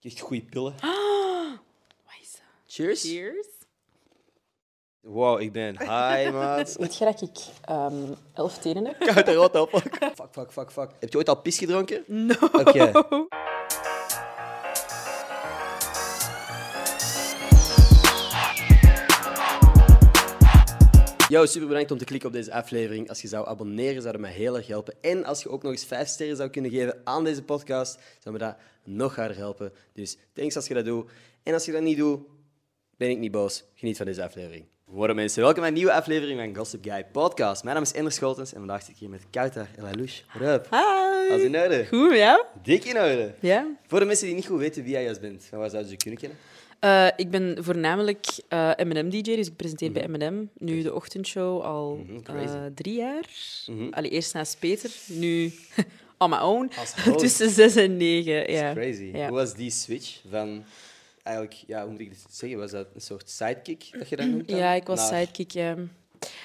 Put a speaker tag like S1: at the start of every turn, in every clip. S1: Echt goede pillen.
S2: Wat is dat?
S1: Cheers.
S2: Cheers.
S1: Wow, ik ben high, maat.
S3: Weet je dat ik ehm, elf tenen heb?
S1: Koud en rood appel. Fuck, fuck, fuck, fuck. Heb je ooit al pis gedronken?
S2: No.
S1: Oké. Yo, super bedankt om te klikken op deze aflevering. Als je zou abonneren, zou dat me heel erg helpen. En als je ook nog eens 5 sterren zou kunnen geven aan deze podcast, zou me dat nog harder helpen. Dus thanks als je dat doet. En als je dat niet doet, ben ik niet boos. Geniet van deze aflevering. Worden mensen, welkom bij een nieuwe aflevering van Gossip Guy Podcast. Mijn naam is Ender Scholtens en vandaag zit ik hier met Kouter en Lalouche. What up?
S2: Hi.
S1: Als in orde.
S2: Goed, ja?
S1: Dik in orde.
S2: Ja.
S1: Voor de mensen die niet goed weten wie jij juist bent, van waar zouden ze je kunnen kennen?
S2: Eh, ik ben voornamelijk eh, M&M-dj, dus ik presenteer bij M&M. Nu de ochtendshow al
S1: Mhm. crazy. Mhm.
S2: eh, drie jaar. Allee, eerst naast Peter, nu on my own.
S1: Als host.
S2: Tussen zes en negen. Ja.
S1: Crazy.
S2: Ja.
S1: Hoe was die switch van eigenlijk, ja, hoe moet ik dit zeggen? Was dat een soort sidekick dat je dat noemt? dan?
S2: Ja, ik was
S1: Naar
S2: sidekick. ja.
S1: main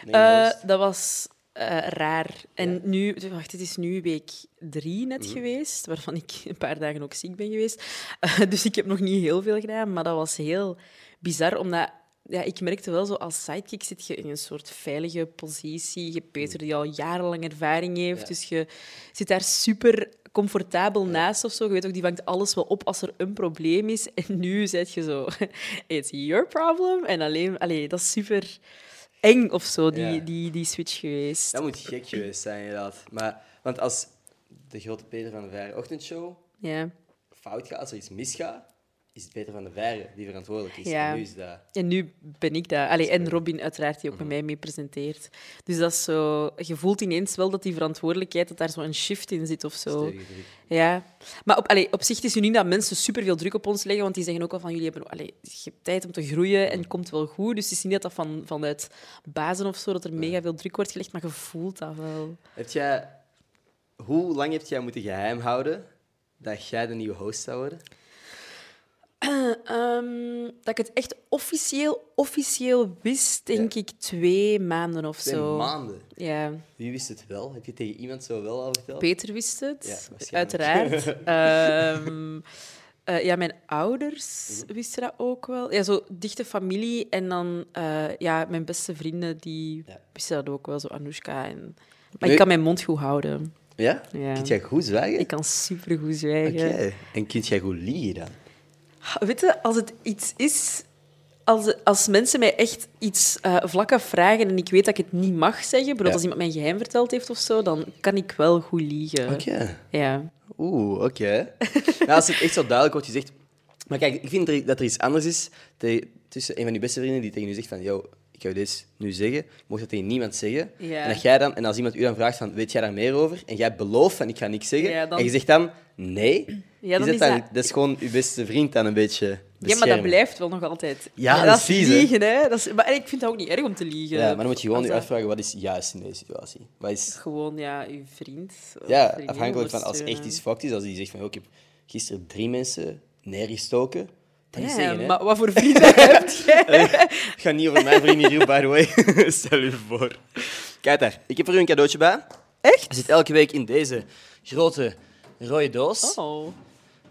S2: Eh,
S1: host?
S2: dat was eh, raar. En nu, wacht, het is nu week drie net geweest, waarvan ik een paar dagen ook ziek ben geweest. Eh, dus ik heb nog niet heel veel gedaan, maar dat was heel bizar, omdat ja, ik merkte wel zo als sidekick zit je in een soort veilige positie. Je hebt Peter die al jarenlang ervaring heeft,
S1: Ja.
S2: dus je zit daar super comfortabel naast of zo. Je weet ook, die vangt alles wel op als er een probleem is. En nu zet je zo, it's your problem. En alleen, allee, dat is super eng of zo, die,
S1: Ja.
S2: die, die switch geweest.
S1: Dat moet gek geweest zijn, inderdaad. Maar, want als de grote Peter van de Vijre ochtendshow
S2: Ja.
S1: fout gaat, als er iets misgaat, is het Peter van de Vijre die verantwoordelijk is.
S2: Ja.
S1: En nu is dat...
S2: En nu ben ik dat. Allee, en Robin uiteraard, die ook met mij mee presenteert. Dus dat is zo... Je voelt ineens wel dat die verantwoordelijkheid, dat daar zo een shift in zit of zo.
S1: stevige druk.
S2: Ja, maar op, allee, op zich het is het nu niet dat mensen superveel druk op ons leggen, want die zeggen ook al van jullie hebben allee, je hebt tijd om te groeien en het komt wel goed. Dus het is niet dat dat van, vanuit bazen of zo, dat er mega veel druk wordt gelegd, maar je voelt dat wel.
S1: Heb jij... Hoe lang heb jij moeten geheim houden dat jij de nieuwe host zou worden?
S2: Ehm, dat ik het echt officieel, officieel wist, denk ik twee maanden of
S1: Twee
S2: zo.
S1: maanden.
S2: Ja,
S1: Wie wist het wel? Heb je tegen iemand zo wel al verteld?
S2: Peter wist
S1: Ja,
S2: het,
S1: waarschijnlijk.
S2: uiteraard. Ehm, eh, ja, mijn ouders
S1: Mhm.
S2: wisten dat ook wel. Ja, zo dichte familie. En dan eh, ja, mijn beste vrienden, die
S1: Ja.
S2: wisten dat ook wel, zo Anoushka. En... Maar
S1: Nee.
S2: ik kan mijn mond goed houden.
S1: Ja?
S2: Ja.
S1: Kun jij goed zwijgen?
S2: Ik kan supergoed zwijgen.
S1: Oké. En kun jij goed liegen dan?
S2: Weet je, als het iets is... Als, als mensen mij echt iets eh vlakken vragen en ik weet dat ik het niet mag zeggen, bijvoorbeeld
S1: Ja.
S2: als iemand mijn geheim verteld heeft of zo, dan kan ik wel goed liegen.
S1: Oké.
S2: Ja.
S1: Oeh, oké. nou, als het echt zo duidelijk wordt gezegd... Maar kijk, ik vind er- dat er iets anders is te- tussen een van je beste vrienden die tegen je zegt van... Yo, ik ga dit nu zeggen. Je Mocht dat tegen niemand zeggen.
S2: Ja.
S1: En, dat jij dan, en als iemand u dan vraagt van... Weet jij daar meer over? En jij belooft van ik ga niks zeggen.
S2: Ja, dan-
S1: En je zegt dan nee.
S2: Ja, dan
S1: dat,
S2: is
S1: dan-
S2: dat-
S1: dat is gewoon je beste vriend dan een beetje
S2: Ja, maar dat
S1: beschermen.
S2: blijft wel nog altijd.
S1: Ja, dat
S2: is
S1: is vies, hè?
S2: liegen, hè. Dat is, maar en ik vind het ook niet erg om te liegen.
S1: Ja, maar dan moet je gewoon
S2: Als
S1: je
S2: dat-
S1: uitvragen wat is juist in deze situatie. Wat is
S2: Gewoon, ja, je vriend. of
S1: Ja,
S2: vriendin eh,
S1: afhankelijk van als echt
S2: ondersteunen.
S1: iets fout is. Als die zegt van, "Oh, ik heb gisteren drie mensen neergestoken. Dan is
S2: Ja,
S1: zeggen, hè.
S2: maar wat voor vrienden heb jij?
S1: Het gaat niet over mijn vrienden hier, by the way. Stel je voor. Kijk daar, ik heb voor u een cadeautje bij.
S2: Echt?
S1: Hij zit elke week in deze grote rode doos.
S2: Oh,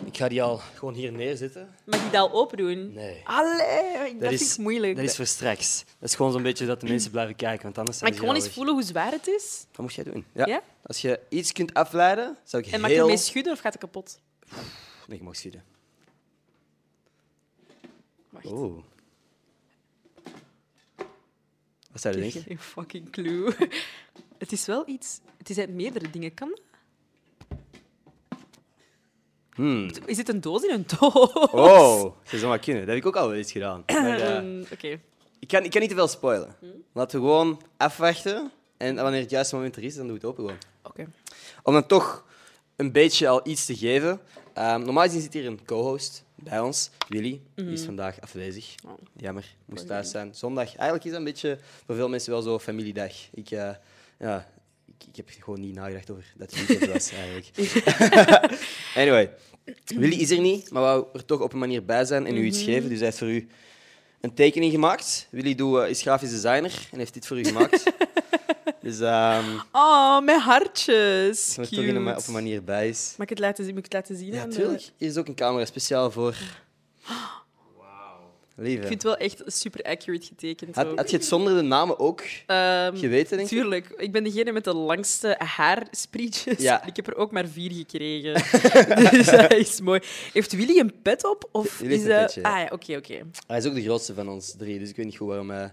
S1: Ik ga die al gewoon hier neerzetten.
S2: mag ik dat al opdoen?
S1: Nee.
S2: Allee, dat, is, moeilijk.
S1: Dat is voor straks. Dat is gewoon zo'n beetje dat de mensen blijven kijken, want anders
S2: Mag
S1: zijn
S2: ik
S1: ze al
S2: gewoon eens
S1: weg.
S2: voelen hoe zwaar het is?
S1: Wat moest jij doen? Ja.
S2: Ja?
S1: Als je iets kunt afleiden, zou ik
S2: En mag ik
S1: heel...
S2: ermee schudden of gaat het kapot?
S1: Nee, je mag schieten.
S2: Wacht.
S1: Oeh. Wat zou je denken?
S2: Geen fucking clue. Het is wel iets... Het is uit meerdere dingen. Kan dat?
S1: Hmm.
S2: Is dit een doos in een doos?
S1: Oh, dat zou maar kunnen. Dat heb ik ook al wel eens gedaan. Maar, eh,
S2: Ehm, Oké.
S1: ik, kan, ik kan niet te veel spoilen. Laten we gewoon afwachten. En wanneer het juiste moment er is, dan doe ik het open gewoon.
S2: Oké.
S1: Om dan toch een beetje al iets te geven. ehm, normaal gezien zit hier een co-host bij ons, Willy. Die is vandaag afwezig.
S2: Mhm. Oh.
S1: Jammer, moest thuis zijn. Zondag. Eigenlijk is dat een beetje voor veel mensen wel zo familiedag. Ik, eh, ja, ik, ik heb gewoon niet nagedacht over dat het weekend was eigenlijk. anyway, Willy is er niet, maar wou er toch op een manier bij zijn en u
S2: Mhm.
S1: iets geven. Dus hij heeft voor u een tekening gemaakt. Willy Doe eh, is grafisch designer en heeft dit voor u gemaakt. Dus ehm
S2: Oh, mijn hartjes.
S1: dat
S2: Cute.
S1: er toch in een ma- op een manier bij is.
S2: Mag ik het laten zien? Moet ik het laten zien?
S1: Ja,
S2: aan de-
S1: tuurlijk. Hier is ook een camera speciaal voor. Lieve.
S2: Ik vind het wel echt super accurate getekend.
S1: Had,
S2: ook.
S1: had je het zonder de namen ook
S2: Ehm,
S1: geweten, denk ik?
S2: Tuurlijk. Ik ben degene met de langste haarsprietjes.
S1: Ja.
S2: Ik heb er ook maar vier gekregen. dus dat is mooi. Heeft Willy een pet op? Of
S1: Willy
S2: is
S1: heeft een
S2: dat...
S1: petje, ja.
S2: Ah ja, oké, oké.
S1: Hij is ook de grootste van ons drie, dus ik weet niet goed waarom hij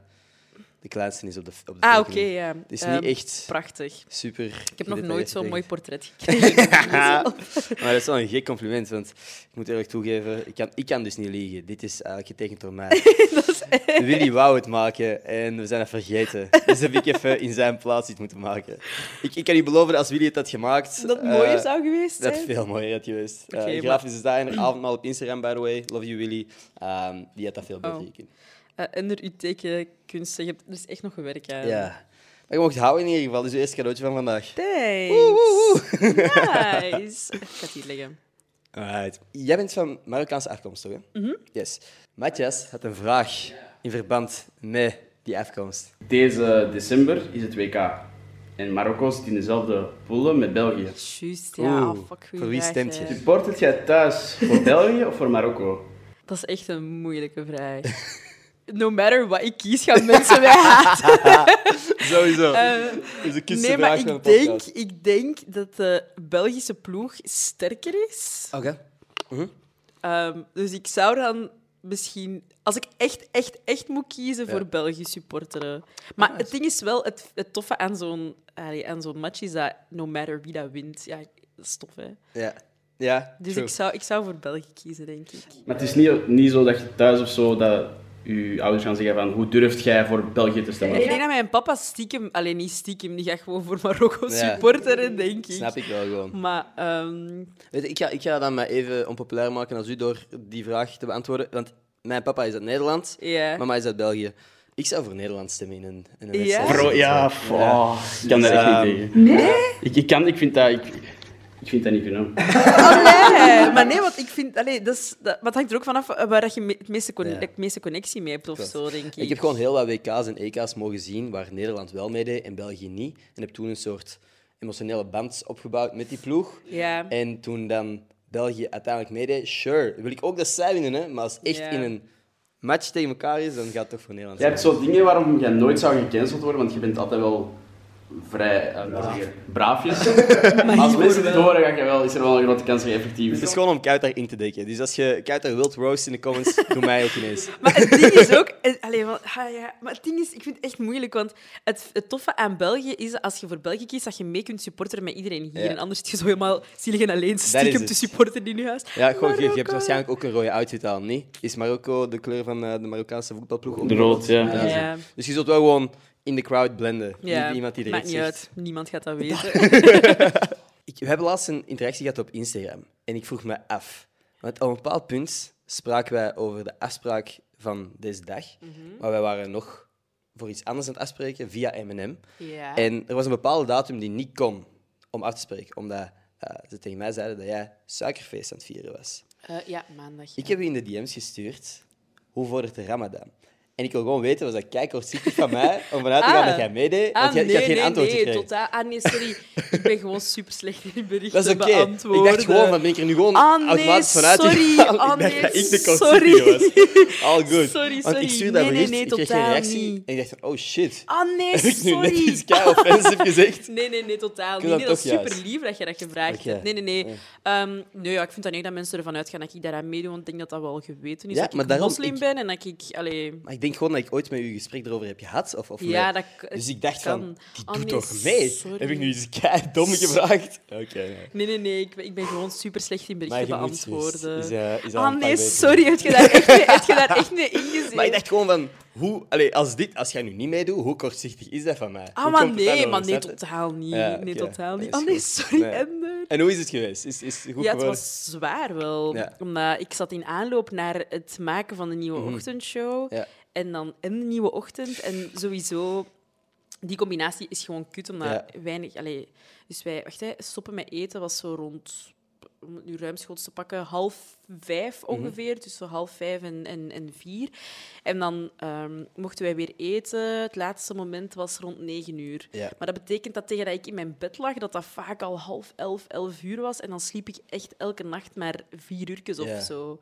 S1: de kleinste is op de op de
S2: Ah, oké,
S1: tekening.
S2: ja.
S1: Het is
S2: Ehm,
S1: niet echt
S2: Prachtig.
S1: super...
S2: Ik heb nog nooit zo'n mooi portret gekregen.
S1: maar dat is wel een gek compliment, want ik moet eerlijk toegeven, ik kan, ik kan dus niet liegen. Dit is eigenlijk getekend door mij. Willy wou het maken en we zijn het vergeten. Dus heb ik even in zijn plaats iets moeten maken. Ik, ik kan u beloven, dat als Willy het had gemaakt...
S2: dat mooier
S1: eh,
S2: zou geweest
S1: Dat
S2: zijn.
S1: veel mooier had geweest. Eh,
S2: Oké, maar-
S1: grafisch designer, avondmaal op Instagram, by the way. Love you, Willy. Ehm, die had dat veel beter
S2: Oh.
S1: gekund.
S2: Eh, en er uw tekenkunsten. Je hebt, er is echt nog werk aan.
S1: Ja. Maar je mocht houden in ieder geval. Dus je eerste cadeautje van vandaag.
S2: Thanks. Nice. Ik ga het hier liggen.
S1: Alright. Jij bent van Marokkaanse afkomst, toch? Hè?
S2: Mhm.
S1: Yes. Matthias had een vraag in verband met die afkomst.
S4: Deze december is het WK. En Marokko zit in dezelfde poelen met België.
S2: Juist, ja.
S1: Oeh,
S2: fuck,
S1: voor
S2: goeie
S1: wie
S2: vraag,
S1: stemt je?
S2: hè.
S4: Supportert jij thuis voor België of voor Marokko?
S2: Dat is echt een moeilijke vraag. No matter wat ik kies, gaan mensen mij haten.
S1: Sowieso.
S2: Eh,
S1: is een
S2: nee, maar ik denk, ik denk dat de Belgische ploeg sterker is.
S1: Oké.
S2: Ehm, dus ik zou dan misschien... Als ik echt, echt, echt moet kiezen voor
S1: Ja.
S2: België supporteren. Maar het ding is wel, het, het toffe aan zo'n, allee, aan zo'n match is dat no matter wie dat wint... Ja, dat is tof, hè.
S1: Ja. Ja,
S2: Dus
S1: true.
S2: ik zou, ik zou voor België kiezen, denk ik.
S4: Maar het is niet, niet zo dat je thuis of zo dat je ouders gaan zeggen van hoe durft jij voor België te stemmen?
S2: Ik denk dat mijn papa stiekem... Alleen niet stiekem, die gaat gewoon voor Marokko
S1: Ja.
S2: supporteren, denk ik.
S1: Snap ik wel gewoon.
S2: Maar ehm,
S1: Weet je, ik, ga, ik ga dat maar even onpopulair maken als u door die vraag te beantwoorden. Want mijn papa is uit Nederland,
S2: ja.
S1: mama is uit België. Ik zou voor Nederland stemmen in een, in een
S2: Ja?
S1: wedstrijd.
S4: Bro, ja, f- oh, ik kan daar echt
S1: Ehm,
S4: niet tegen. Nee? Ik, ik, kan, ik vind dat... Ik, ik vind dat niet kunnen.
S2: Oh, nee. Maar nee, want ik vind... Allee, dat is, dat, maar het hangt er ook vanaf eh, waar dat je me- het meeste, conne-
S1: Ja.
S2: het meeste connectie mee hebt of
S1: Klopt.
S2: zo, denk ik.
S1: Ik heb gewoon heel wat WK's en EK's mogen zien waar Nederland wel meedeed en België niet. En heb toen een soort emotionele band opgebouwd met die ploeg.
S2: Ja.
S1: En toen dan België uiteindelijk meedeed, sure, wil ik ook dat zij winnen, hè? maar als het echt
S2: Ja.
S1: in een match tegen elkaar is, dan gaat het toch voor Nederland.
S4: Jij hebt zo dingen waarom jij nooit zou gecanceld worden, want je bent altijd wel vrij eh, moet ik zeggen, braafjes. Als mensen dit horen, ga je wel, is er wel een grote kans dat je effectief
S1: Het is gewoon om Kuiter in te dekken. Dus als je Kuiter wilt roast in de comments, doe mij ook ineens.
S2: Maar het ding is ook... eh, Allee, want, ah, ja, maar het ding is, ik vind het echt moeilijk, want het, het toffe aan België is dat als je voor België kiest, dat je mee kunt supporteren met iedereen hier.
S1: Ja.
S2: En anders zit je zo helemaal zielig en alleen
S1: is
S2: stiekem
S1: het.
S2: te supporteren in je huis.
S1: Ja, gewoon, je, je hebt
S2: Marokko.
S1: waarschijnlijk ook een rode outfit aan, niet? Is Marokko de kleur van eh, de Marokkaanse voetbalploeg? ook?
S4: De rood, ja.
S2: Ja.
S1: Dus je zult wel gewoon in de crowd blenden.
S2: Ja.
S1: Niet iemand die direct
S2: Maakt niet
S1: zegt.
S2: uit. Niemand gaat dat weten.
S1: Ik, we hebben laatst een interactie gehad op Instagram. En ik vroeg me af. Want op een bepaald punt spraken wij over de afspraak van deze dag.
S2: Mhm.
S1: Maar wij waren nog voor iets anders aan het afspreken via M&M.
S2: ja.
S1: En er was een bepaalde datum die niet kon om af te spreken. Omdat eh, ze tegen mij zeiden dat jij suikerfeest aan het vieren was.
S2: Eh, ja, maandag.
S1: Ik heb je in de DM's gestuurd. Hoe vordert de Ramadan? En ik wil gewoon weten, was dat kijkhorzichtig van mij om vanuit te gaan
S2: Ah.
S1: dat jij meedeed?
S2: Ah,
S1: Want jij,
S2: nee,
S1: ik had geen
S2: nee,
S1: antwoord
S2: nee,
S1: gekregen.
S2: totaal. Ah, nee, sorry. ik ben gewoon super slecht in berichten
S1: Dat is oké. Ik
S2: beantwoorden.
S1: dacht gewoon, dan ben ik er nu gewoon
S2: Ah, nee,
S1: automatisch vanuit
S2: sorry.
S1: gegaan.
S2: Ah,
S1: ik dacht
S2: nee,
S1: dat ik de
S2: sorry.
S1: kortzichtige was. All good.
S2: Sorry,
S1: Want ik
S2: sorry.
S1: stuurde dat
S2: Nee, nee,
S1: bericht,
S2: nee,
S1: ik kreeg geen
S2: totaal
S1: reactie.
S2: niet.
S1: En ik dacht, oh shit.
S2: Ah, nee,
S1: Heb ik nu net
S2: sorry.
S1: iets kei offensief gezegd?
S2: Nee, nee, nee, totaal niet.
S1: dat
S2: Nee, dat is
S1: toch juist.
S2: super lief dat je dat gevraagd
S1: Oké.
S2: hebt. Nee, nee, nee. Ehm, nee ja, ik vind dan echt dat mensen ervan uitgaan dat ik daaraan meedoe, want ik denk dat dat wel geweten is
S1: Ja,
S2: dat ik
S1: maar daarom
S2: moslim
S1: ik-
S2: ben en dat ik... Allee,
S1: Maar ik denk gewoon dat ik ooit met u een gesprek erover heb gehad. Of, of
S2: ja,
S1: nee.
S2: dat k-
S1: Dus ik dacht
S2: kan.
S1: van, die
S2: Ah,
S1: doet
S2: nee,
S1: toch mee?
S2: sorry.
S1: Heb ik nu iets kei dom gevraagd? Oké, nee.
S2: Nee, nee, nee, ik ben, ik ben gewoon super slecht in
S1: Maar
S2: berichten
S1: je moet
S2: beantwoorden.
S1: Is, eh, is al
S2: ah,
S1: een
S2: nee,
S1: pak beter.
S2: sorry, heb je daar echt, mee- heb je daar echt mee ingezien?
S1: Maar ik dacht gewoon van, hoe, allee, als, dit, als jij nu niet meedoet, hoe kortzichtig is dat van mij?
S2: Ah,
S1: Hoe
S2: maar
S1: komt het
S2: nee,
S1: daarover,
S2: maar nee,
S1: snap je?
S2: totaal niet.
S1: Ja,
S2: nee,
S1: oké.
S2: totaal niet.
S1: Dat is
S2: Oh nee,
S1: goed.
S2: sorry,
S1: Nee.
S2: Ender.
S1: En hoe is het geweest? Is, is het goed
S2: Ja, het
S1: geworden?
S2: was zwaar wel.
S1: Ja. Mhm.
S2: Omdat ik zat in aanloop naar het maken van de nieuwe ochtendshow.
S1: Ja.
S2: En dan en de nieuwe ochtend. En sowieso, die combinatie is gewoon kut, omdat
S1: Ja.
S2: weinig... Allee, dus wij wacht, hè, stoppen met eten was zo rond om het nu ruimschoots te pakken, half vijf
S1: Mhm.
S2: ongeveer. Dus zo half vijf en, en, en vier. En dan ehm, mochten wij weer eten. Het laatste moment was rond negen uur.
S1: Ja.
S2: Maar dat betekent dat tegen dat ik in mijn bed lag, dat dat vaak al half elf, elf uur was. En dan sliep ik echt elke nacht maar vier uurtjes
S1: Ja.
S2: of zo.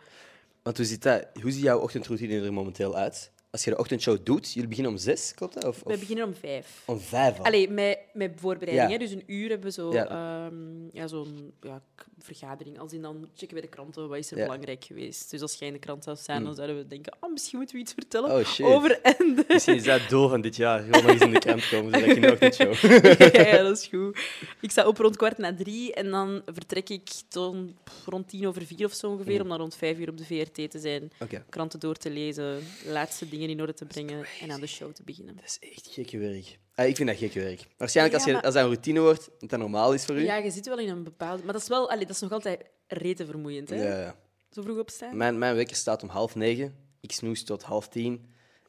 S1: Want hoe ziet, dat, hoe ziet jouw ochtendroutine er momenteel uit? Als je de ochtendshow doet, jullie beginnen om zes, klopt dat? Of,
S2: We
S1: of
S2: beginnen om vijf.
S1: om vijf al?
S2: Allee, met, met voorbereiding.
S1: Ja.
S2: Hè? Dus een uur hebben we zo,
S1: Ja.
S2: ehm, ja, zo'n ja, k- vergadering. Als in dan checken we de kranten, wat is er
S1: Ja. Hmm.
S2: belangrijk geweest. Dus als jij in de krant zou staan, dan zouden we denken, oh, misschien moeten we iets vertellen
S1: Oh, shit.
S2: over Ende.
S1: Misschien is dat het doel van dit jaar. Gewoon nog eens in de krant komen, zodat je in de ochtendshow...
S2: ja, ja, dat is goed. Ik sta op rond kwart na drie en dan vertrek ik ton, pff, rond tien over vier of zo ongeveer, om dan rond vijf uur op de VRT te zijn,
S1: Mhm. Oké.
S2: kranten door te lezen, laatste dingen in orde te brengen en aan de show te beginnen.
S1: Dat is echt gekke werk. Ah, ik vind dat gekke werk. Waarschijnlijk als,
S2: Ja,
S1: je,
S2: maar-
S1: als dat een routine wordt, dat dat normaal is voor u.
S2: Ja, je zit wel in een bepaalde... Maar dat is wel... Allee, dat is nog altijd rete vermoeiend, hè?
S1: Ja, ja.
S2: Zo vroeg opstaan.
S1: Mijn, mijn wekker staat om half negen. Ik snoes tot half tien.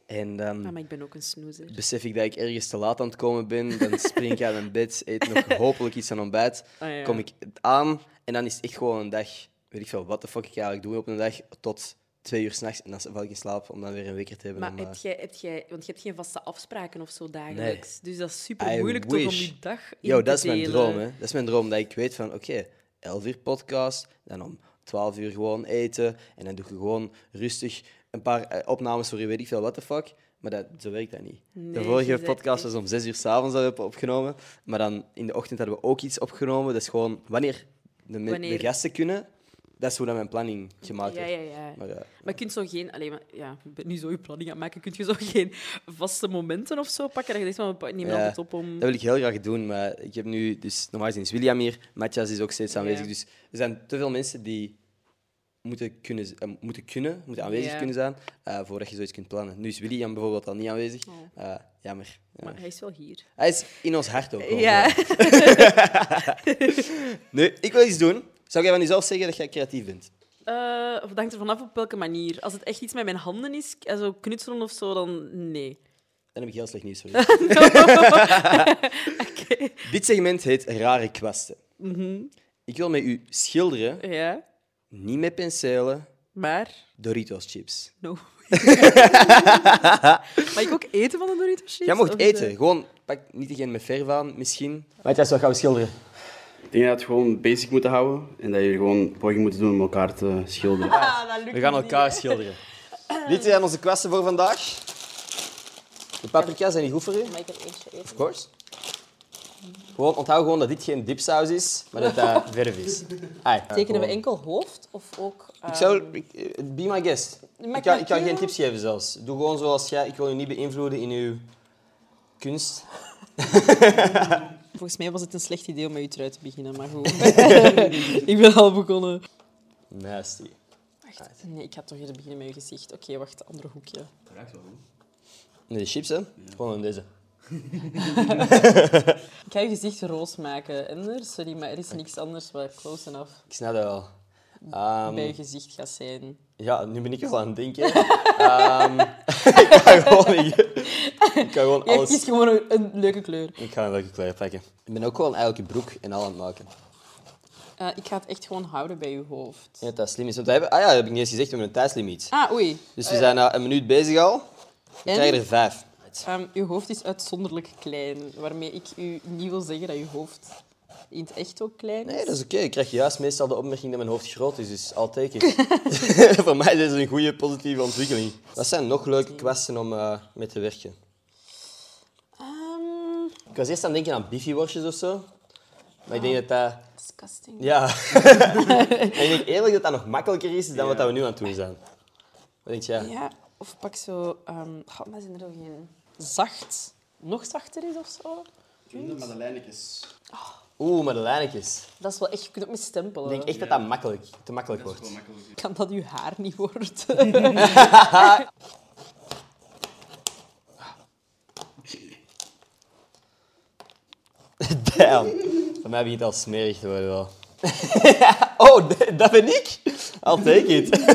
S1: En dan
S2: Ah, maar ik ben ook een snoezer.
S1: besef ik dat ik ergens te laat aan het komen ben. Dan spring ik uit mijn bed, eet nog hopelijk iets aan ontbijt.
S2: Ah, ja.
S1: Kom ik aan en dan is het echt gewoon een dag... Weet ik veel, wat de fuck ik eigenlijk doe op een dag tot twee uur s'nachts. En dan val ik in slaap om dan weer een wekker te hebben.
S2: Maar
S1: om, eh,
S2: heb jij, heb jij... Want je hebt geen vaste afspraken of zo dagelijks. Dus dat is
S1: I
S2: super moeilijk toch om
S1: wish.
S2: je dag in
S1: Yo,
S2: te
S1: dat is mijn
S2: delen.
S1: droom, hè. Dat is mijn droom, dat ik weet van, oké, 11 uur podcast, dan om 12 uur gewoon eten, en dan doe ik gewoon rustig een paar eh, opnames voor je weet ik veel, what the fuck. Maar dat, zo werkt dat niet. de
S2: Nee, je
S1: vorige
S2: zegt
S1: podcast was om 6 uur s'avonds dat we hebben opgenomen, maar dan in de ochtend hadden we ook iets opgenomen. Dat is gewoon wanneer de, me-
S2: Wanneer-
S1: de gasten kunnen, dat is hoe dat mijn planning gemaakt
S2: Ja,
S1: wordt.
S2: ja, ja.
S1: Maar, eh,
S2: Maar je kunt zo geen... Allee, maar, ja, ik ben nu zo je planning aan het maken. Kun je zo geen vaste momenten of zo pakken? Dat je denkt van, we pa- nemen
S1: Ja,
S2: altijd op om...
S1: Dat wil ik heel graag doen, maar ik heb nu, dus normaal gezien is William hier, Matthias is ook steeds aanwezig.
S2: Ja.
S1: Dus er zijn te veel mensen die moeten kunnen, eh, moeten, kunnen, moeten aanwezig
S2: Ja.
S1: kunnen zijn eh, voordat je zoiets kunt plannen. Nu is William bijvoorbeeld al niet aanwezig.
S2: Oh.
S1: Eh, jammer. jammer.
S2: Maar hij is wel hier.
S1: Hij is in ons hart ook. gewoon
S2: Ja.
S1: zo. nu, ik wil iets doen. Zou jij van jezelf zeggen dat jij creatief bent?
S2: Eh, of het hangt er vanaf op welke manier. Als het echt iets met mijn handen is, eh, zo knutselen of zo, dan nee.
S1: Dan heb ik heel slecht nieuws voor je.
S2: Oké.
S1: Dit segment heet Rare Kwasten.
S2: Mhm.
S1: Ik wil met u schilderen,
S2: Ja,
S1: niet met penselen,
S2: maar
S1: Doritos chips.
S2: no. Mag ik ook eten van een Doritos chips?
S1: Jij mocht
S2: Of is dat-
S1: eten. Gewoon, pak niet degene met verf aan, misschien. Matthias, wat gaan we schilderen?
S4: Ik denk dat we het gewoon basic moeten houden en dat jullie gewoon poging moeten doen om elkaar te schilderen.
S2: Ah, dat lukt
S1: We gaan
S2: niet.
S1: elkaar schilderen. Dit zijn onze kwasten voor vandaag. De paprika's zijn niet goed voor u,
S3: Mag ik er eentje eten?
S1: of course. Gewoon, onthoud gewoon dat dit geen dipsaus is, maar dat dat verf is. Ai,
S3: Tekenen we
S1: gewoon.
S3: enkel hoofd of ook...
S1: Ik
S3: ehm,
S1: zou... ik- eh, Be my guest.
S3: Maar
S1: Ik kan,
S3: ik
S1: ik kan
S3: wil-
S1: geen tips geven zelfs. Doe gewoon zoals jij. Ik wil je niet beïnvloeden in uw kunst.
S3: Volgens mij was het een slecht idee om met je trui te beginnen, maar goed. ik ben al begonnen.
S1: Nasty.
S3: Wacht, nee, ik ga toch eerder beginnen met je gezicht. Oké, wacht, andere hoekje.
S1: Nee, de chips, hè? Gewoon deze.
S3: Ik ga je gezicht roos maken, Ender. Sorry, maar er is niks anders wat close enough
S1: Ik snap dat wel. Ehm,
S3: bij je gezicht gaat zijn.
S1: Ja, nu ben ik al aan het denken. Ehm, ik kan gewoon, ik, kan gewoon
S3: Ja, het is
S1: alles...
S3: gewoon een, een leuke kleur.
S1: Ik ga een leuke kleur pakken. Ik ben ook gewoon eigenlijk een broek en al aan het maken. Ik
S3: Eh, ik ga het echt gewoon houden bij je hoofd.
S1: denk dat dat slim is. Want we hebben, ah ja, dat heb ik niet eens gezegd, we hebben een tijdslimiet.
S3: Ah, oei.
S1: Dus we zijn na een minuut bezig al. We
S3: En?
S1: krijgen er vijf.
S3: Ehm, uw hoofd is uitzonderlijk klein, waarmee ik u niet wil zeggen dat uw hoofd in het echt ook klein is.
S1: Nee, dat is oké. Ik krijg juist meestal de opmerking dat mijn hoofd groot is, dus al teken. Voor mij is dit een goede, positieve ontwikkeling. Wat zijn nog leuke kwasten om eh, mee te werken?
S3: Ehm,
S1: Ik was eerst aan het denken aan bifi-worstjes of zo. Maar ik denk dat dat...
S3: disgusting.
S1: Ja. en ik denk eerlijk dat dat nog makkelijker is dan wat dat we nu aan het doen zijn. Wat denk jij?
S3: Ja, of pak zo... ehm god, maar zijn er al geen... Zacht. Nog zachter is of zo?
S4: Maar de lijnetjes.
S1: Oeh, maar de lijntjes.
S3: Dat is wel echt... Je kunt ook met stempelen.
S1: Ik denk echt dat dat makkelijk, te makkelijk wordt.
S3: Kan dat uw haar niet wordt?
S1: Damn. Voor mij begint het al smerig te worden wel. oh, d- dat ben ik? I'll take it.
S3: ik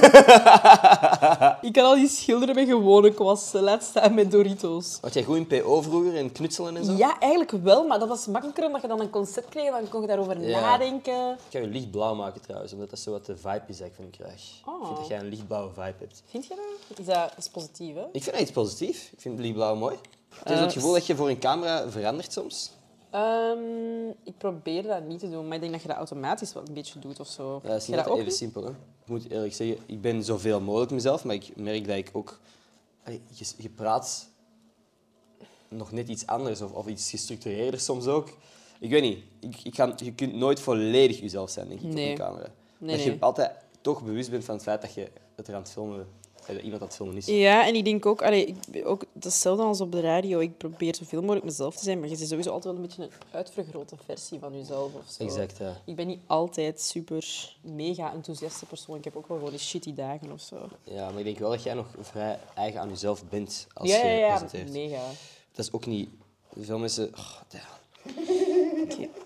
S2: Ik kan al die schilderen met gewone kwasten. Laat staan met Doritos.
S1: Was jij goed in PO vroeger, in knutselen en zo?
S2: Ja, eigenlijk wel, maar dat was makkelijker omdat je dan een concept kreeg en dan kon je daarover
S1: Ja.
S2: nadenken.
S1: Ik ga je lichtblauw maken trouwens, omdat dat zo wat de vibe is dat ik van je krijg. Ik vind dat jij een lichtblauwe vibe hebt.
S2: Vind je dat? Is dat, is positief, hè?
S1: Ik vind dat iets positiefs. Ik vind lichtblauw mooi. Het is zo het gevoel dat je voor een camera verandert soms.
S2: Ehm, ik probeer dat niet te doen, maar ik denk dat je dat automatisch wel een beetje doet of zo.
S1: Ja, dat is
S2: je
S1: niet altijd
S2: dat ook
S1: even
S2: niet?
S1: simpel. Hè? Ik moet eerlijk zeggen, ik ben zoveel mogelijk mezelf, maar ik merk dat ik ook... Allee, je, je praat nog net iets anders of, of iets gestructureerder soms ook. Ik weet niet. Ik, ik kan, je kunt nooit volledig jezelf zijn, denk ik,
S2: Nee.
S1: op een camera.
S2: Nee,
S1: dat je
S2: nee.
S1: altijd toch bewust bent van het feit dat je dat er aan het filmen... eh, Dat iemand aan het filmen is.
S5: Ja, en ik denk ook, allee, ik, ben ook dat is hetzelfde als op de radio. Ik probeer zoveel mogelijk mezelf te zijn, maar je bent sowieso altijd wel een beetje een
S2: Uitvergrote versie van jezelf of zo.
S1: Exact, ja.
S2: Ik ben niet altijd super mega enthousiaste persoon. Ik heb ook wel gewoon die shitty dagen of zo.
S1: Ja, maar ik denk wel dat jij nog vrij eigen aan jezelf bent als
S2: ja,
S1: je
S2: ja, ja,
S1: presenteert.
S2: mega.
S1: Dat is ook niet... Veel mensen... Oh, damn.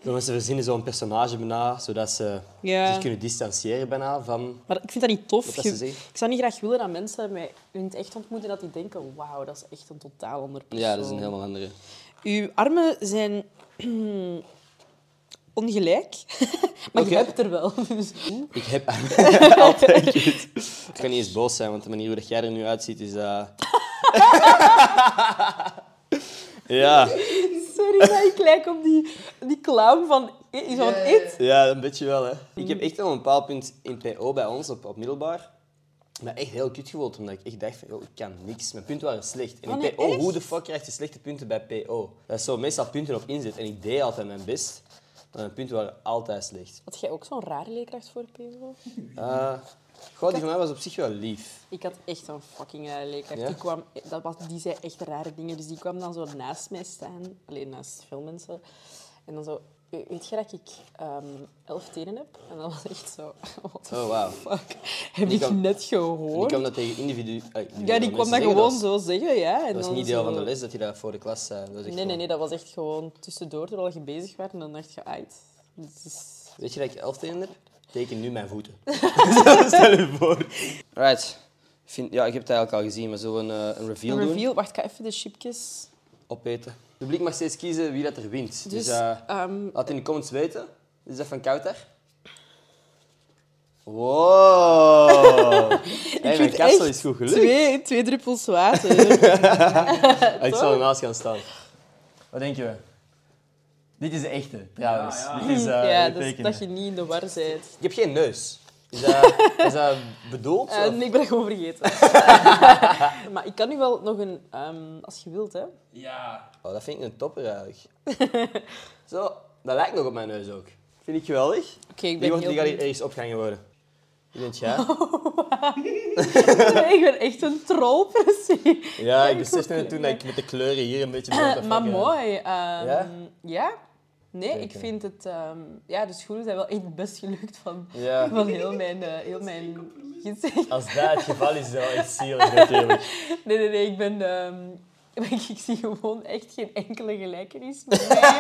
S1: Veel mensen verzinnen zo'n personage bijna, zodat ze
S2: Ja.
S1: zich kunnen distancieren bijna van...
S2: Maar ik vind dat niet tof.
S1: Wat dat
S2: Je-
S1: ze zeggen.
S2: ik zou niet graag willen dat mensen mij in het echt ontmoeten dat die denken, wauw, dat is echt een totaal ander persoon.
S1: Ja, dat is een helemaal andere.
S5: Uw armen zijn ongelijk.
S2: Maar
S1: Oké.
S2: je hebt er wel. dus-
S1: Ik heb altijd kut. Ik kan niet eens boos zijn, want de manier hoe dat jij er nu uitziet is... eh, ja,
S2: Sorry, maar ik lijk op die, die clown van, is dat het?
S1: ja, een beetje wel, hè. Ik heb echt al een bepaald punt in PO bij ons, op, op middelbaar, me echt heel kut gevoeld, omdat ik echt dacht van, joh, ik kan niks. Mijn punten waren slecht. En in
S2: nee,
S1: PO,
S2: echt?
S1: hoe de fuck krijg je slechte punten bij PO? Dat is zo meestal punten op inzet. En ik deed altijd mijn best, maar mijn punten waren altijd slecht.
S2: Had jij ook zo'n rare leerkracht voor PO?
S1: Eh goh, die van mij was op zich wel lief.
S2: Ik had echt een fucking rare leerkracht.
S1: Ja?
S2: Die, kwam, dat was, die zei echt rare dingen. Dus die kwam dan zo naast mij staan. Alleen naast veel mensen. En dan zo... "We- Weet je dat ik ehm, elf tenen heb? En dat was echt zo... What the
S1: Oh, wauw.
S2: fuck? Heb
S1: Die
S2: ik
S1: kwam-
S2: net
S1: En die
S2: gehoord?
S1: kwam dat tegen individu... eh,
S2: ja, die
S1: mensen
S2: kwam dat
S1: zeggen,
S2: gewoon
S1: was-
S2: zo zeggen, ja. En
S1: Dat was
S2: dan
S1: niet deel
S2: zo-
S1: van de les dat hij dat voor de klas zei. Dat was echt
S2: Nee, nee,
S1: gewoon-
S2: nee. Dat was echt gewoon tussendoor, terwijl je bezig werd. En dan dacht je, uit. Dit is...
S1: Weet je dat ik elf tenen heb? Teken nu mijn voeten. Stel je voor. Right. Vind, ja, ik heb het eigenlijk al gezien, maar zullen we een, eh, een reveal,
S2: Een
S1: doen?
S2: reveal. Wacht, ik ga even de chipjes...
S1: Opeten. Het publiek mag steeds kiezen wie dat er wint. Dus,
S2: Dus,
S1: eh,
S2: ehm,
S1: laat in de comments weten. Is dat van Kouter? Wow! hey, mijn
S2: vind
S1: kapsel
S2: echt
S1: is goed gelukt.
S2: twee, twee druppels water.
S1: Ah, ik zal ernaast gaan staan. Wat denk je? Dit is de echte, trouwens. Dit is eh
S2: ja,
S1: de
S2: dus
S1: tekenen.
S2: dat je niet in de war bent.
S1: Ik heb geen neus. Is dat, is dat bedoeld?
S2: Eh,
S1: of-
S2: nee, ik ben dat gewoon vergeten. maar ik kan nu wel nog een... ehm, als je wilt, hè.
S1: Oh, dat vind ik een topper eigenlijk. Zo, dat lijkt nog op mijn neus ook. Vind ik geweldig.
S2: Oké,
S1: Die,
S2: ik ben
S1: wordt,
S2: heel
S1: die gaat hier
S2: benieuwd. Oh,
S1: ergens opgehangen worden. Wie denk jij?
S2: Nee, ik ben echt een troll, precies.
S1: Ja, ik
S2: ik
S1: besefte
S2: hoor
S1: net toen dat ik met de kleuren hier een beetje... blond
S2: maar
S1: afhang.
S2: mooi. ehm, ja? Nee, ik
S1: Zeker.
S2: vind het... ehm, ja, de schoenen zijn wel echt best gelukt van,
S1: Ja.
S2: van heel mijn, eh, heel mijn gezicht.
S1: Als dat het geval is, is dat wel echt zielig natuurlijk.
S2: Nee, nee, nee, ik ben... ehm, ik, ik zie gewoon echt geen enkele gelijkenis met mij.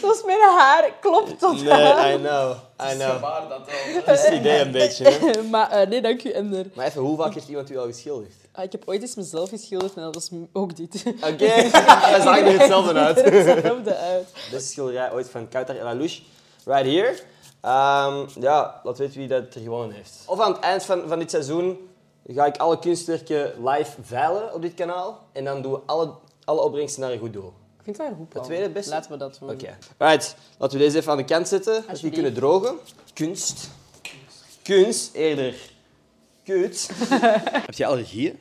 S2: Zoals mijn haar klopt tot
S1: Nee, ah, I know. I know.
S4: Gebaar dat wel.
S1: Dat is het idee een beetje. Hè?
S2: maar eh, nee, dank u, Ender.
S1: Maar even, hoe vaak heeft iemand u al geschilderd?
S2: Ah, ik heb ooit eens mezelf geschilderd en dat was m- ook dit.
S1: Oké, dat zag er hetzelfde uit.
S2: Hetzelfde uit.
S1: Beste schilderij ooit van Kouter El Alouche. Right here. Ehm, ja, laat weten wie dat er gewonnen heeft. Of aan het eind van, van dit seizoen ga ik alle kunstwerken live veilen op dit kanaal. En dan doen we alle, alle opbrengsten naar een goed doel.
S2: Ik vind dat een goed plan.
S1: tweede het beste?
S2: Laten we dat doen.
S1: Oké. Right, laten we deze even aan de kant zetten. Dat die
S2: Alsjeblieft.
S1: kunnen drogen. Kunst. Kunst, eerder. Kut. Heb jij allergieën?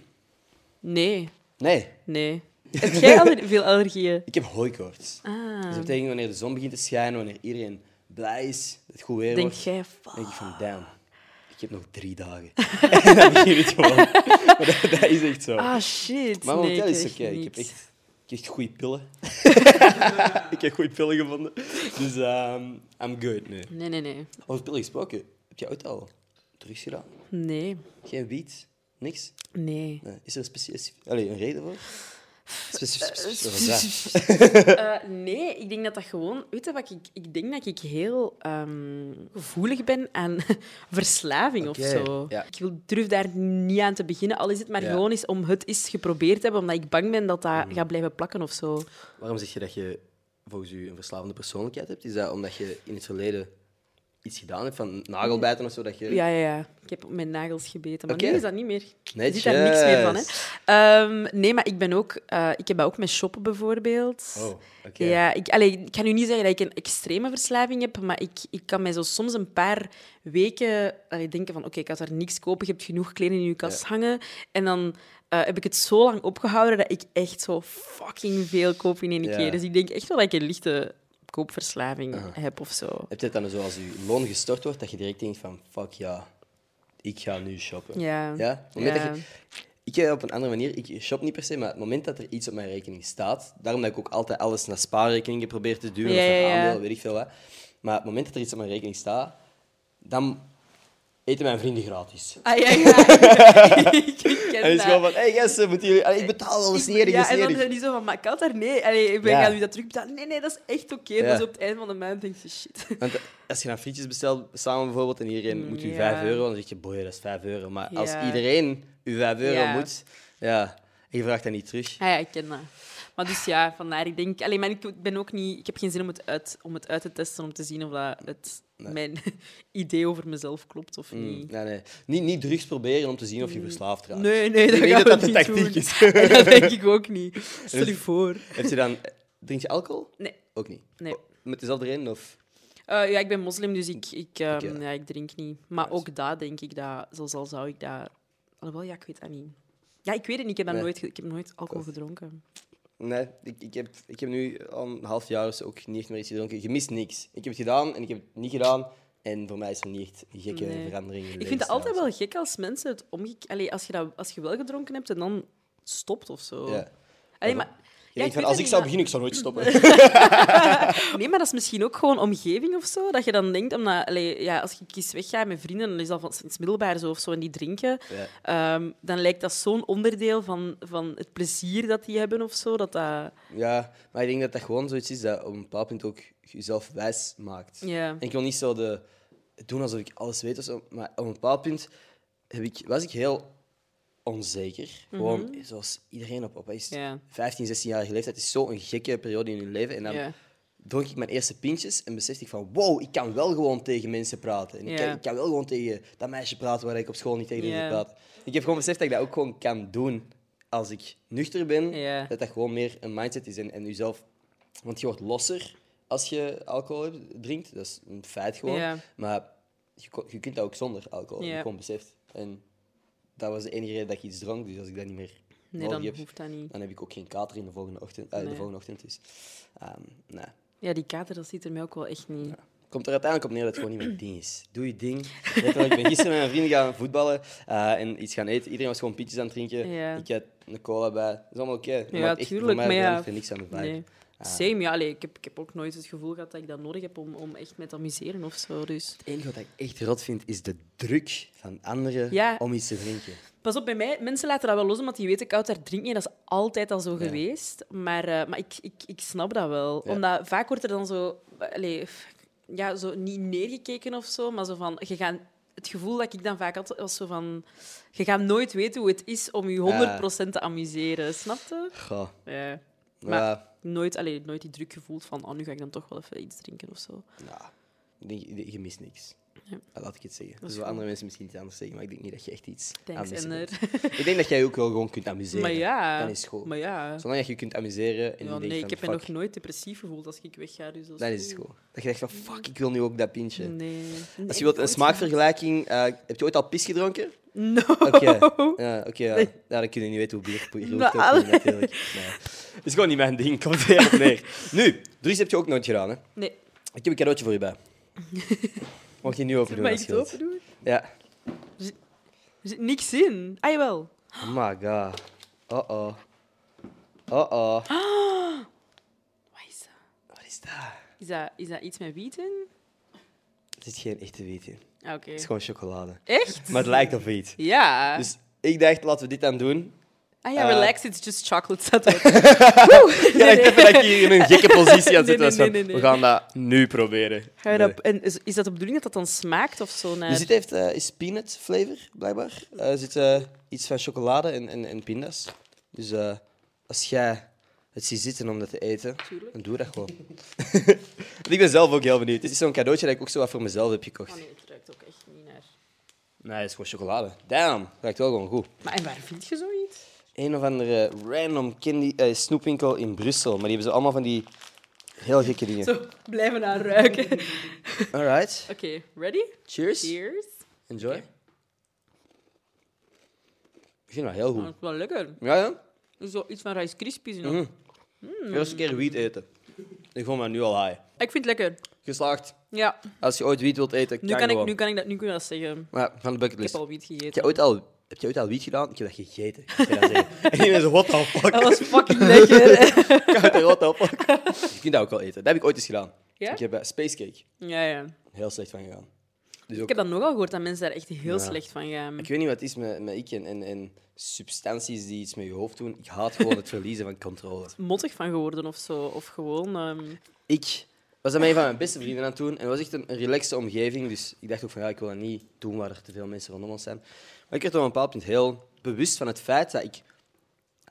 S5: Nee,
S1: Nee,
S5: nee. Heb jij aller- veel allergieën? Ah,
S1: ik heb hooikoorts. Dus
S2: Ah.
S1: dat betekent wanneer de zon begint te schijnen, wanneer iedereen blij is, dat het goed weer
S5: Denk
S1: wordt.
S5: jij
S1: Dan
S5: van...
S1: denk ik van, damn, ik heb nog drie dagen. en dan begint het gewoon. Maar dat, dat is echt zo.
S5: Ah, shit.
S1: maar
S5: nee,
S1: momenteel
S5: ik
S1: is
S5: heb
S1: het oké.
S5: echt
S1: Ik heb
S5: niks.
S1: echt, ik heb echt goede pillen. ik heb goede pillen gevonden. Dus ehm I'm good nu.
S5: Nee, nee, nee.
S1: Over pillen gesproken, heb jij ooit al drugs gedaan?
S5: Nee,
S1: Geen wiet? Niks?
S5: nee.
S1: Nee. Is er een, specie- allee, een reden voor?
S5: eh,
S2: Eh, nee, ik denk dat dat gewoon... Weet je wat ik... Ik denk dat ik heel ehm, gevoelig ben aan verslaving
S1: Oké,
S2: of zo.
S1: ja.
S2: Ik wil, durf daar niet aan te beginnen, al is het maar
S1: Ja. Mhm.
S2: gewoon eens om het eens geprobeerd te hebben, omdat ik bang ben dat dat gaat blijven plakken of zo.
S1: Waarom zeg je dat je volgens u een verslavende persoonlijkheid hebt? Is dat omdat je in het verleden iets gedaan hebt, van nagelbijten of zo? Dat je...
S2: Ja, ja, ja. Ik heb op mijn nagels gebeten, maar
S1: Oké.
S2: nu is dat niet meer. Er
S1: Netjes.
S2: zit daar niks meer van, hè. Ehm, nee, maar ik ben ook... eh, ik heb dat ook met shoppen, bijvoorbeeld.
S1: Oh, oké.
S2: Ja, ik, allee, ik kan nu niet zeggen dat ik een extreme verslaving heb, maar ik, ik kan mij zo soms een paar weken allee, denken van oké, ik had er niks kopen, je hebt genoeg kleding in je kast hangen. En dan eh, heb ik het zo lang opgehouden dat ik echt zo fucking veel koop in één
S1: Ja.
S2: keer. Dus ik denk echt wel dat ik een lichte koopverslaving heb of zo.
S1: Heb je het dan zo als je loon gestort wordt, dat je direct denkt van fuck ja, ik ga nu shoppen?
S2: Ja.
S1: ja? Op het moment
S2: Ja.
S1: Dat je, ik eh, op een andere manier, ik shop niet per se, maar het moment dat er iets op mijn rekening staat, daarom dat ik ook altijd alles naar spaarrekeningen probeer te duwen
S2: Ja,
S1: of naar
S2: ja, ja.
S1: aandelen, weet ik veel wat. Maar het moment dat er iets op mijn rekening staat, dan eten mijn vrienden gratis.
S2: Ah, ja, ja. ik, ik ken
S1: En het is
S2: dat.
S1: gewoon van, hey gasten, moeten jullie... Allee, ik betaal wel,
S2: Ik-
S1: is niet erg,
S2: Ja,
S1: is
S2: en dan
S1: niet
S2: zijn
S1: erg.
S2: die zo van, maar ik had daar... Nee, allee, ik ben,
S1: Ja.
S2: gaan u dat terugbetalen? Nee, nee, dat is echt oké.
S1: Ja.
S2: Dus op het einde van de maand denk je, shit.
S1: Want als je dan frietjes bestelt samen bijvoorbeeld en iedereen moet u
S2: ja.
S1: 5 euro, dan zeg je, boy, dat is 5 euro. Maar als
S2: Ja.
S1: iedereen u 5 euro
S2: Ja.
S1: moet, ja, en je vraagt dat niet terug.
S2: Ah ja, ik ken dat. Maar dus ja, vandaar. Ik denk... Allee, maar ik ben ook niet... Ik heb geen zin om het uit, om het uit te testen, om te zien of dat het, mijn idee over mezelf klopt of
S1: Mm,
S2: niet.
S1: nee, nee. Niet, niet drugs proberen om te zien of je verslaafd raakt.
S2: Mm. Nee, nee, dat
S1: denk
S2: gaan
S1: dat
S2: we
S1: dat
S2: niet
S1: de
S2: doen.
S1: tactiek Dus
S2: En dat denk ik ook niet. Stel je voor.
S1: Heb je dan... Drink je alcohol?
S2: Nee.
S1: Ook niet?
S2: Nee.
S1: Oh, Met dezelfde reden? Of...
S2: Eh, ja, ik ben moslim, dus ik, ik, ehm,
S1: Oké.
S2: ja, ik drink niet. Maar ook daar denk ik dat, zoals al zou ik dat. Alhoewel, ja, ik weet dat niet. Ja, ik weet het niet. Ik heb, dat
S1: Nee.
S2: nooit, ge- ik heb nooit alcohol gedronken.
S1: Nee, ik, ik, heb, ik heb nu al een half jaar of zo ook niet echt meer iets gedronken. Je mist niks. Ik heb het gedaan en ik heb het niet gedaan. En voor mij is er niet echt een gekke
S2: Nee.
S1: verandering in
S2: Ik vind het altijd wel gek als mensen het omgekeerd. Allee, als je, dat, als je wel gedronken hebt en dan stopt of zo.
S1: Ja.
S2: Allee, maar,
S1: Je
S2: ja,
S1: denkt van, als
S2: weet dat
S1: ik
S2: niet,
S1: zou
S2: maar-
S1: beginnen, ik zou nooit stoppen.
S2: Nee, maar dat is misschien ook gewoon omgeving of zo. Dat je dan denkt, omdat, allee, ja, als je kies wegga met vrienden, dan is dat van sinds middelbaar zo of zo, en die drinken.
S1: Ja.
S2: ehm, dan lijkt dat zo'n onderdeel van, van het plezier dat die hebben of zo. Dat dat,
S1: Ja, maar ik denk dat dat gewoon zoiets is dat op een bepaald punt ook jezelf wijs maakt.
S2: Ja.
S1: En ik wil niet zo de, doen alsof ik alles weet of zo, maar op een bepaald punt heb ik, was ik heel onzeker. Gewoon zoals iedereen op, op is
S2: Mhm. Ja.
S1: 15, 16-jarige leeftijd is zo'n gekke periode in hun leven. En dan
S2: Ja.
S1: dronk ik mijn eerste pintjes en besefte ik van wow, ik kan wel gewoon tegen mensen praten. En ik,
S2: Ja.
S1: kan, ik kan wel gewoon tegen dat meisje praten waar ik op school niet tegen durfde
S2: Ja.
S1: praten. Ik heb gewoon beseft dat ik dat ook gewoon kan doen als ik nuchter ben.
S2: Ja.
S1: Dat dat gewoon meer een mindset is en, en jezelf... Want je wordt losser als je alcohol hebt- drinkt. Dat is een feit gewoon.
S2: Ja.
S1: Maar je, kon- je kunt dat ook zonder alcohol.
S2: Ja.
S1: heb Ik gewoon beseft. En dat was de enige reden dat ik iets dronk. Dus als ik dat niet meer
S2: nee,
S1: nodig
S2: dan
S1: heb,
S2: hoeft dat niet.
S1: dan heb ik ook geen kater in de volgende ochtend. eh,
S2: Nee.
S1: de volgende ochtend dus, ehm, nee.
S2: Ja, die kater, dat ziet er mij ook wel echt niet.
S1: Komt er uiteindelijk op neer dat het gewoon niet mijn ding is. Doe je ding. Net wel, ik ben gisteren met mijn vrienden gaan voetballen eh, en iets gaan eten. Iedereen was gewoon pietjes aan het drinken.
S2: Ja.
S1: Ik had een cola bij. Dat is allemaal oké. Dat
S2: Ja,
S1: maakt echt voor
S2: tuurlijk,
S1: mij
S2: maar ja,
S1: verandert er niks aan de vibe.
S2: Nee. Same, ja. allee, ik, heb, ik heb ook nooit het gevoel gehad dat ik dat nodig heb om, om echt met amuseren of zo. Dus.
S1: Het enige wat ik echt rot vind, is de druk van anderen
S2: Ja.
S1: om iets te drinken.
S2: Pas op, bij mij, mensen laten dat wel los, omdat die weten, koud daar drink je. Dat is altijd al zo geweest. Maar, eh, maar ik, ik, ik snap dat wel.
S1: Ja.
S2: Omdat vaak wordt er dan zo... Allee, f- ja, zo niet neergekeken of zo, maar zo van... Je gaat, het gevoel dat ik dan vaak had, was zo van... Je gaat nooit weten hoe het is om je 100% te amuseren. Snap je?
S1: Goh.
S2: Ja. Maar
S1: Maar,
S2: nooit, allee, nooit die druk gevoeld van... Oh, nu ga ik dan toch wel even iets drinken of zo.
S1: nou, ik denk, je- je mist niks.
S2: Ja.
S1: Ah, Laat ik het zeggen.
S2: Dat
S1: Dat
S2: is
S1: zullen
S2: goed.
S1: andere mensen misschien iets anders zeggen, maar ik denk niet dat je echt iets aan
S2: Thanks,
S1: missen
S2: Ender.
S1: bent. Ik denk dat jij ook wel gewoon kunt amuseren.
S2: Maar ja.
S1: Dat is goed.
S2: Maar ja.
S1: Zolang dat je je kunt amuseren en je
S2: Ja,
S1: denkt
S2: nee,
S1: van,
S2: ik heb me
S1: fuck,
S2: nog nooit depressief gevoeld als ik wegga. Dus dat is
S1: Dat is het
S2: goed.
S1: gewoon. Dat je denkt van, fuck, ik wil nu ook dat pintje.
S2: Nee.
S1: Als je wilt een smaakvergelijking, eh, heb je ooit al pis gedronken?
S2: No.
S1: Oké. Ja, oké. ja.
S2: Oh. Nee.
S1: Ja, dan kun je niet weten hoe bier hoe bier
S2: Nou,
S1: wordt
S2: alle-
S1: ook, natuurlijk. Nee. Dat is gewoon niet mijn ding, komt er heel op neer. Nu, Dries heb je ook nooit gedaan, hè?
S2: Nee.
S1: Ik heb een cadeautje voor je bij. Mag je nu over doen,
S2: Mag ik
S1: als
S2: het
S1: je wilt.
S2: open doen?
S1: Ja.
S2: Er zit niks in. Ah, jawel.
S1: Oh my god. Oh, Oh-oh. Oh-oh.
S2: Wat is dat?
S1: Wat is dat?
S2: Is dat, is dat iets met wiet in?
S1: Er zit geen echte wiet in. Het
S2: Ah, Oké.
S1: is gewoon chocolade.
S2: Echt?
S1: Maar het lijkt op wiet.
S2: Ja.
S1: Dus ik dacht, laten we dit dan doen.
S2: Ah ja, relax, it's just chocolate. Zat erop.
S1: Ja,
S2: Nee,
S1: ik dacht
S2: nee.
S1: dat ik hier in een gekke positie aan zit.
S2: Nee, nee,
S1: was van,
S2: nee, nee,
S1: We
S2: nee.
S1: gaan dat nu proberen.
S2: Ga je
S1: Nee.
S2: dat- en is, is dat de bedoeling dat dat dan smaakt of zo? Naar...
S1: Dus dit heeft, eh, is peanut flavor, blijkbaar. Eh, Er zit eh, iets van chocolade en, en, en pindas. Dus eh, als jij het ziet zitten om dat te eten, dan doe dat gewoon. Want ik ben zelf ook heel benieuwd. Dit is zo'n cadeautje dat ik ook zo wat voor mezelf heb gekocht.
S2: Oh, nee, het ruikt ook echt niet naar.
S1: Nee, dat is gewoon chocolade. Damn, ruikt wel gewoon goed.
S2: Maar en waar vind je zoiets?
S1: Een of andere random candy, eh, snoepwinkel in Brussel. Maar die hebben ze allemaal van die heel gekke dingen.
S2: Zo, blijven aan ruiken. Oké,
S1: Alright,
S2: ready?
S1: cheers.
S2: Cheers.
S1: Enjoy. Ik vind dat heel
S2: Oh,
S1: goed.
S2: dat is wel lekker.
S1: Ah. Ja, ja.
S2: Zo iets van Rice Krispies. nog.
S1: Mm. Eerste keer wiet eten. Ik vond me nu al high.
S2: Ik vind het lekker.
S1: Geslaagd.
S2: Ja,
S1: Als je ooit wiet wilt eten,
S2: nu kan, ik,
S1: gewoon.
S2: nu kan ik dat, nu kun je dat zeggen.
S1: Maar ja, van de
S2: Ik heb
S1: bucketlist.
S2: al wiet gegeten.
S1: Heb je ooit al, heb je ooit al wiet gedaan? Ik heb dat gegeten. Ik kan dat zeggen. en iedereen zo, what the fuck?
S2: Dat was fucking lekker.
S1: Koude, what the fuck? ik vind dat ook wel eten. Dat heb ik ooit eens gedaan.
S2: Ja?
S1: Ik heb eh, spacecake.
S2: ja, ja.
S1: Heel slecht van gegaan. Dus
S2: Ik
S1: ook,
S2: heb dat nogal gehoord dat mensen daar echt heel
S1: Ja.
S2: slecht van gaan.
S1: ik weet niet wat het is met, met ik en, en, en substanties die iets met je hoofd doen. Ik haat gewoon het verliezen van controle.
S2: Mottig van geworden of zo. Of gewoon. ehm,
S1: ik was dat met een van mijn beste vrienden aan het doen. En het was echt een, een relaxte omgeving. Dus ik dacht ook van ja, ik wil dat niet doen waar er te veel mensen rondom ons zijn. Maar ik werd op een bepaald punt heel bewust van het feit dat ik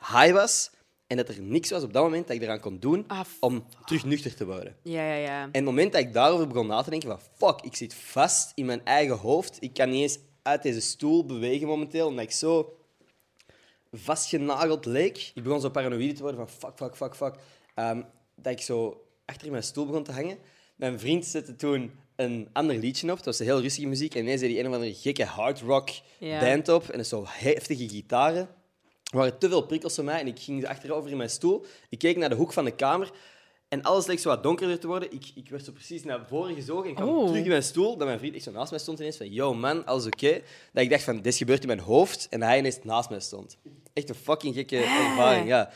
S1: high was. En dat er niks was op dat moment dat ik eraan kon doen
S2: Ah, f-
S1: om terug nuchter te worden.
S2: ja, ja, ja.
S1: En het moment dat ik daarover begon na te denken van fuck, ik zit vast in mijn eigen hoofd. Ik kan niet eens uit deze stoel bewegen momenteel, omdat ik zo vastgenageld leek. Ik begon zo paranoïde te worden van fuck, fuck, fuck, fuck. Ehm, dat ik zo achter in mijn stoel begon te hangen. Mijn vriend zette toen een ander liedje op. Dat was heel rustige muziek. En ineens deed hij een of andere gekke hard rock
S2: Ja.
S1: band op. En dat is zo heftige gitaren. Er waren te veel prikkels voor mij en ik ging achterover in mijn stoel. Ik keek naar de hoek van de kamer en alles leek zo wat donkerder te worden. Ik, ik werd zo precies naar voren gezogen en kwam
S2: Oh.
S1: terug in mijn stoel. Dat mijn vriend echt zo naast mij stond ineens van, yo man, alles oké? Dat ik dacht van, dit gebeurt in mijn hoofd en dat hij ineens naast mij stond. Echt een fucking gekke
S2: Ah.
S1: ervaring, ja.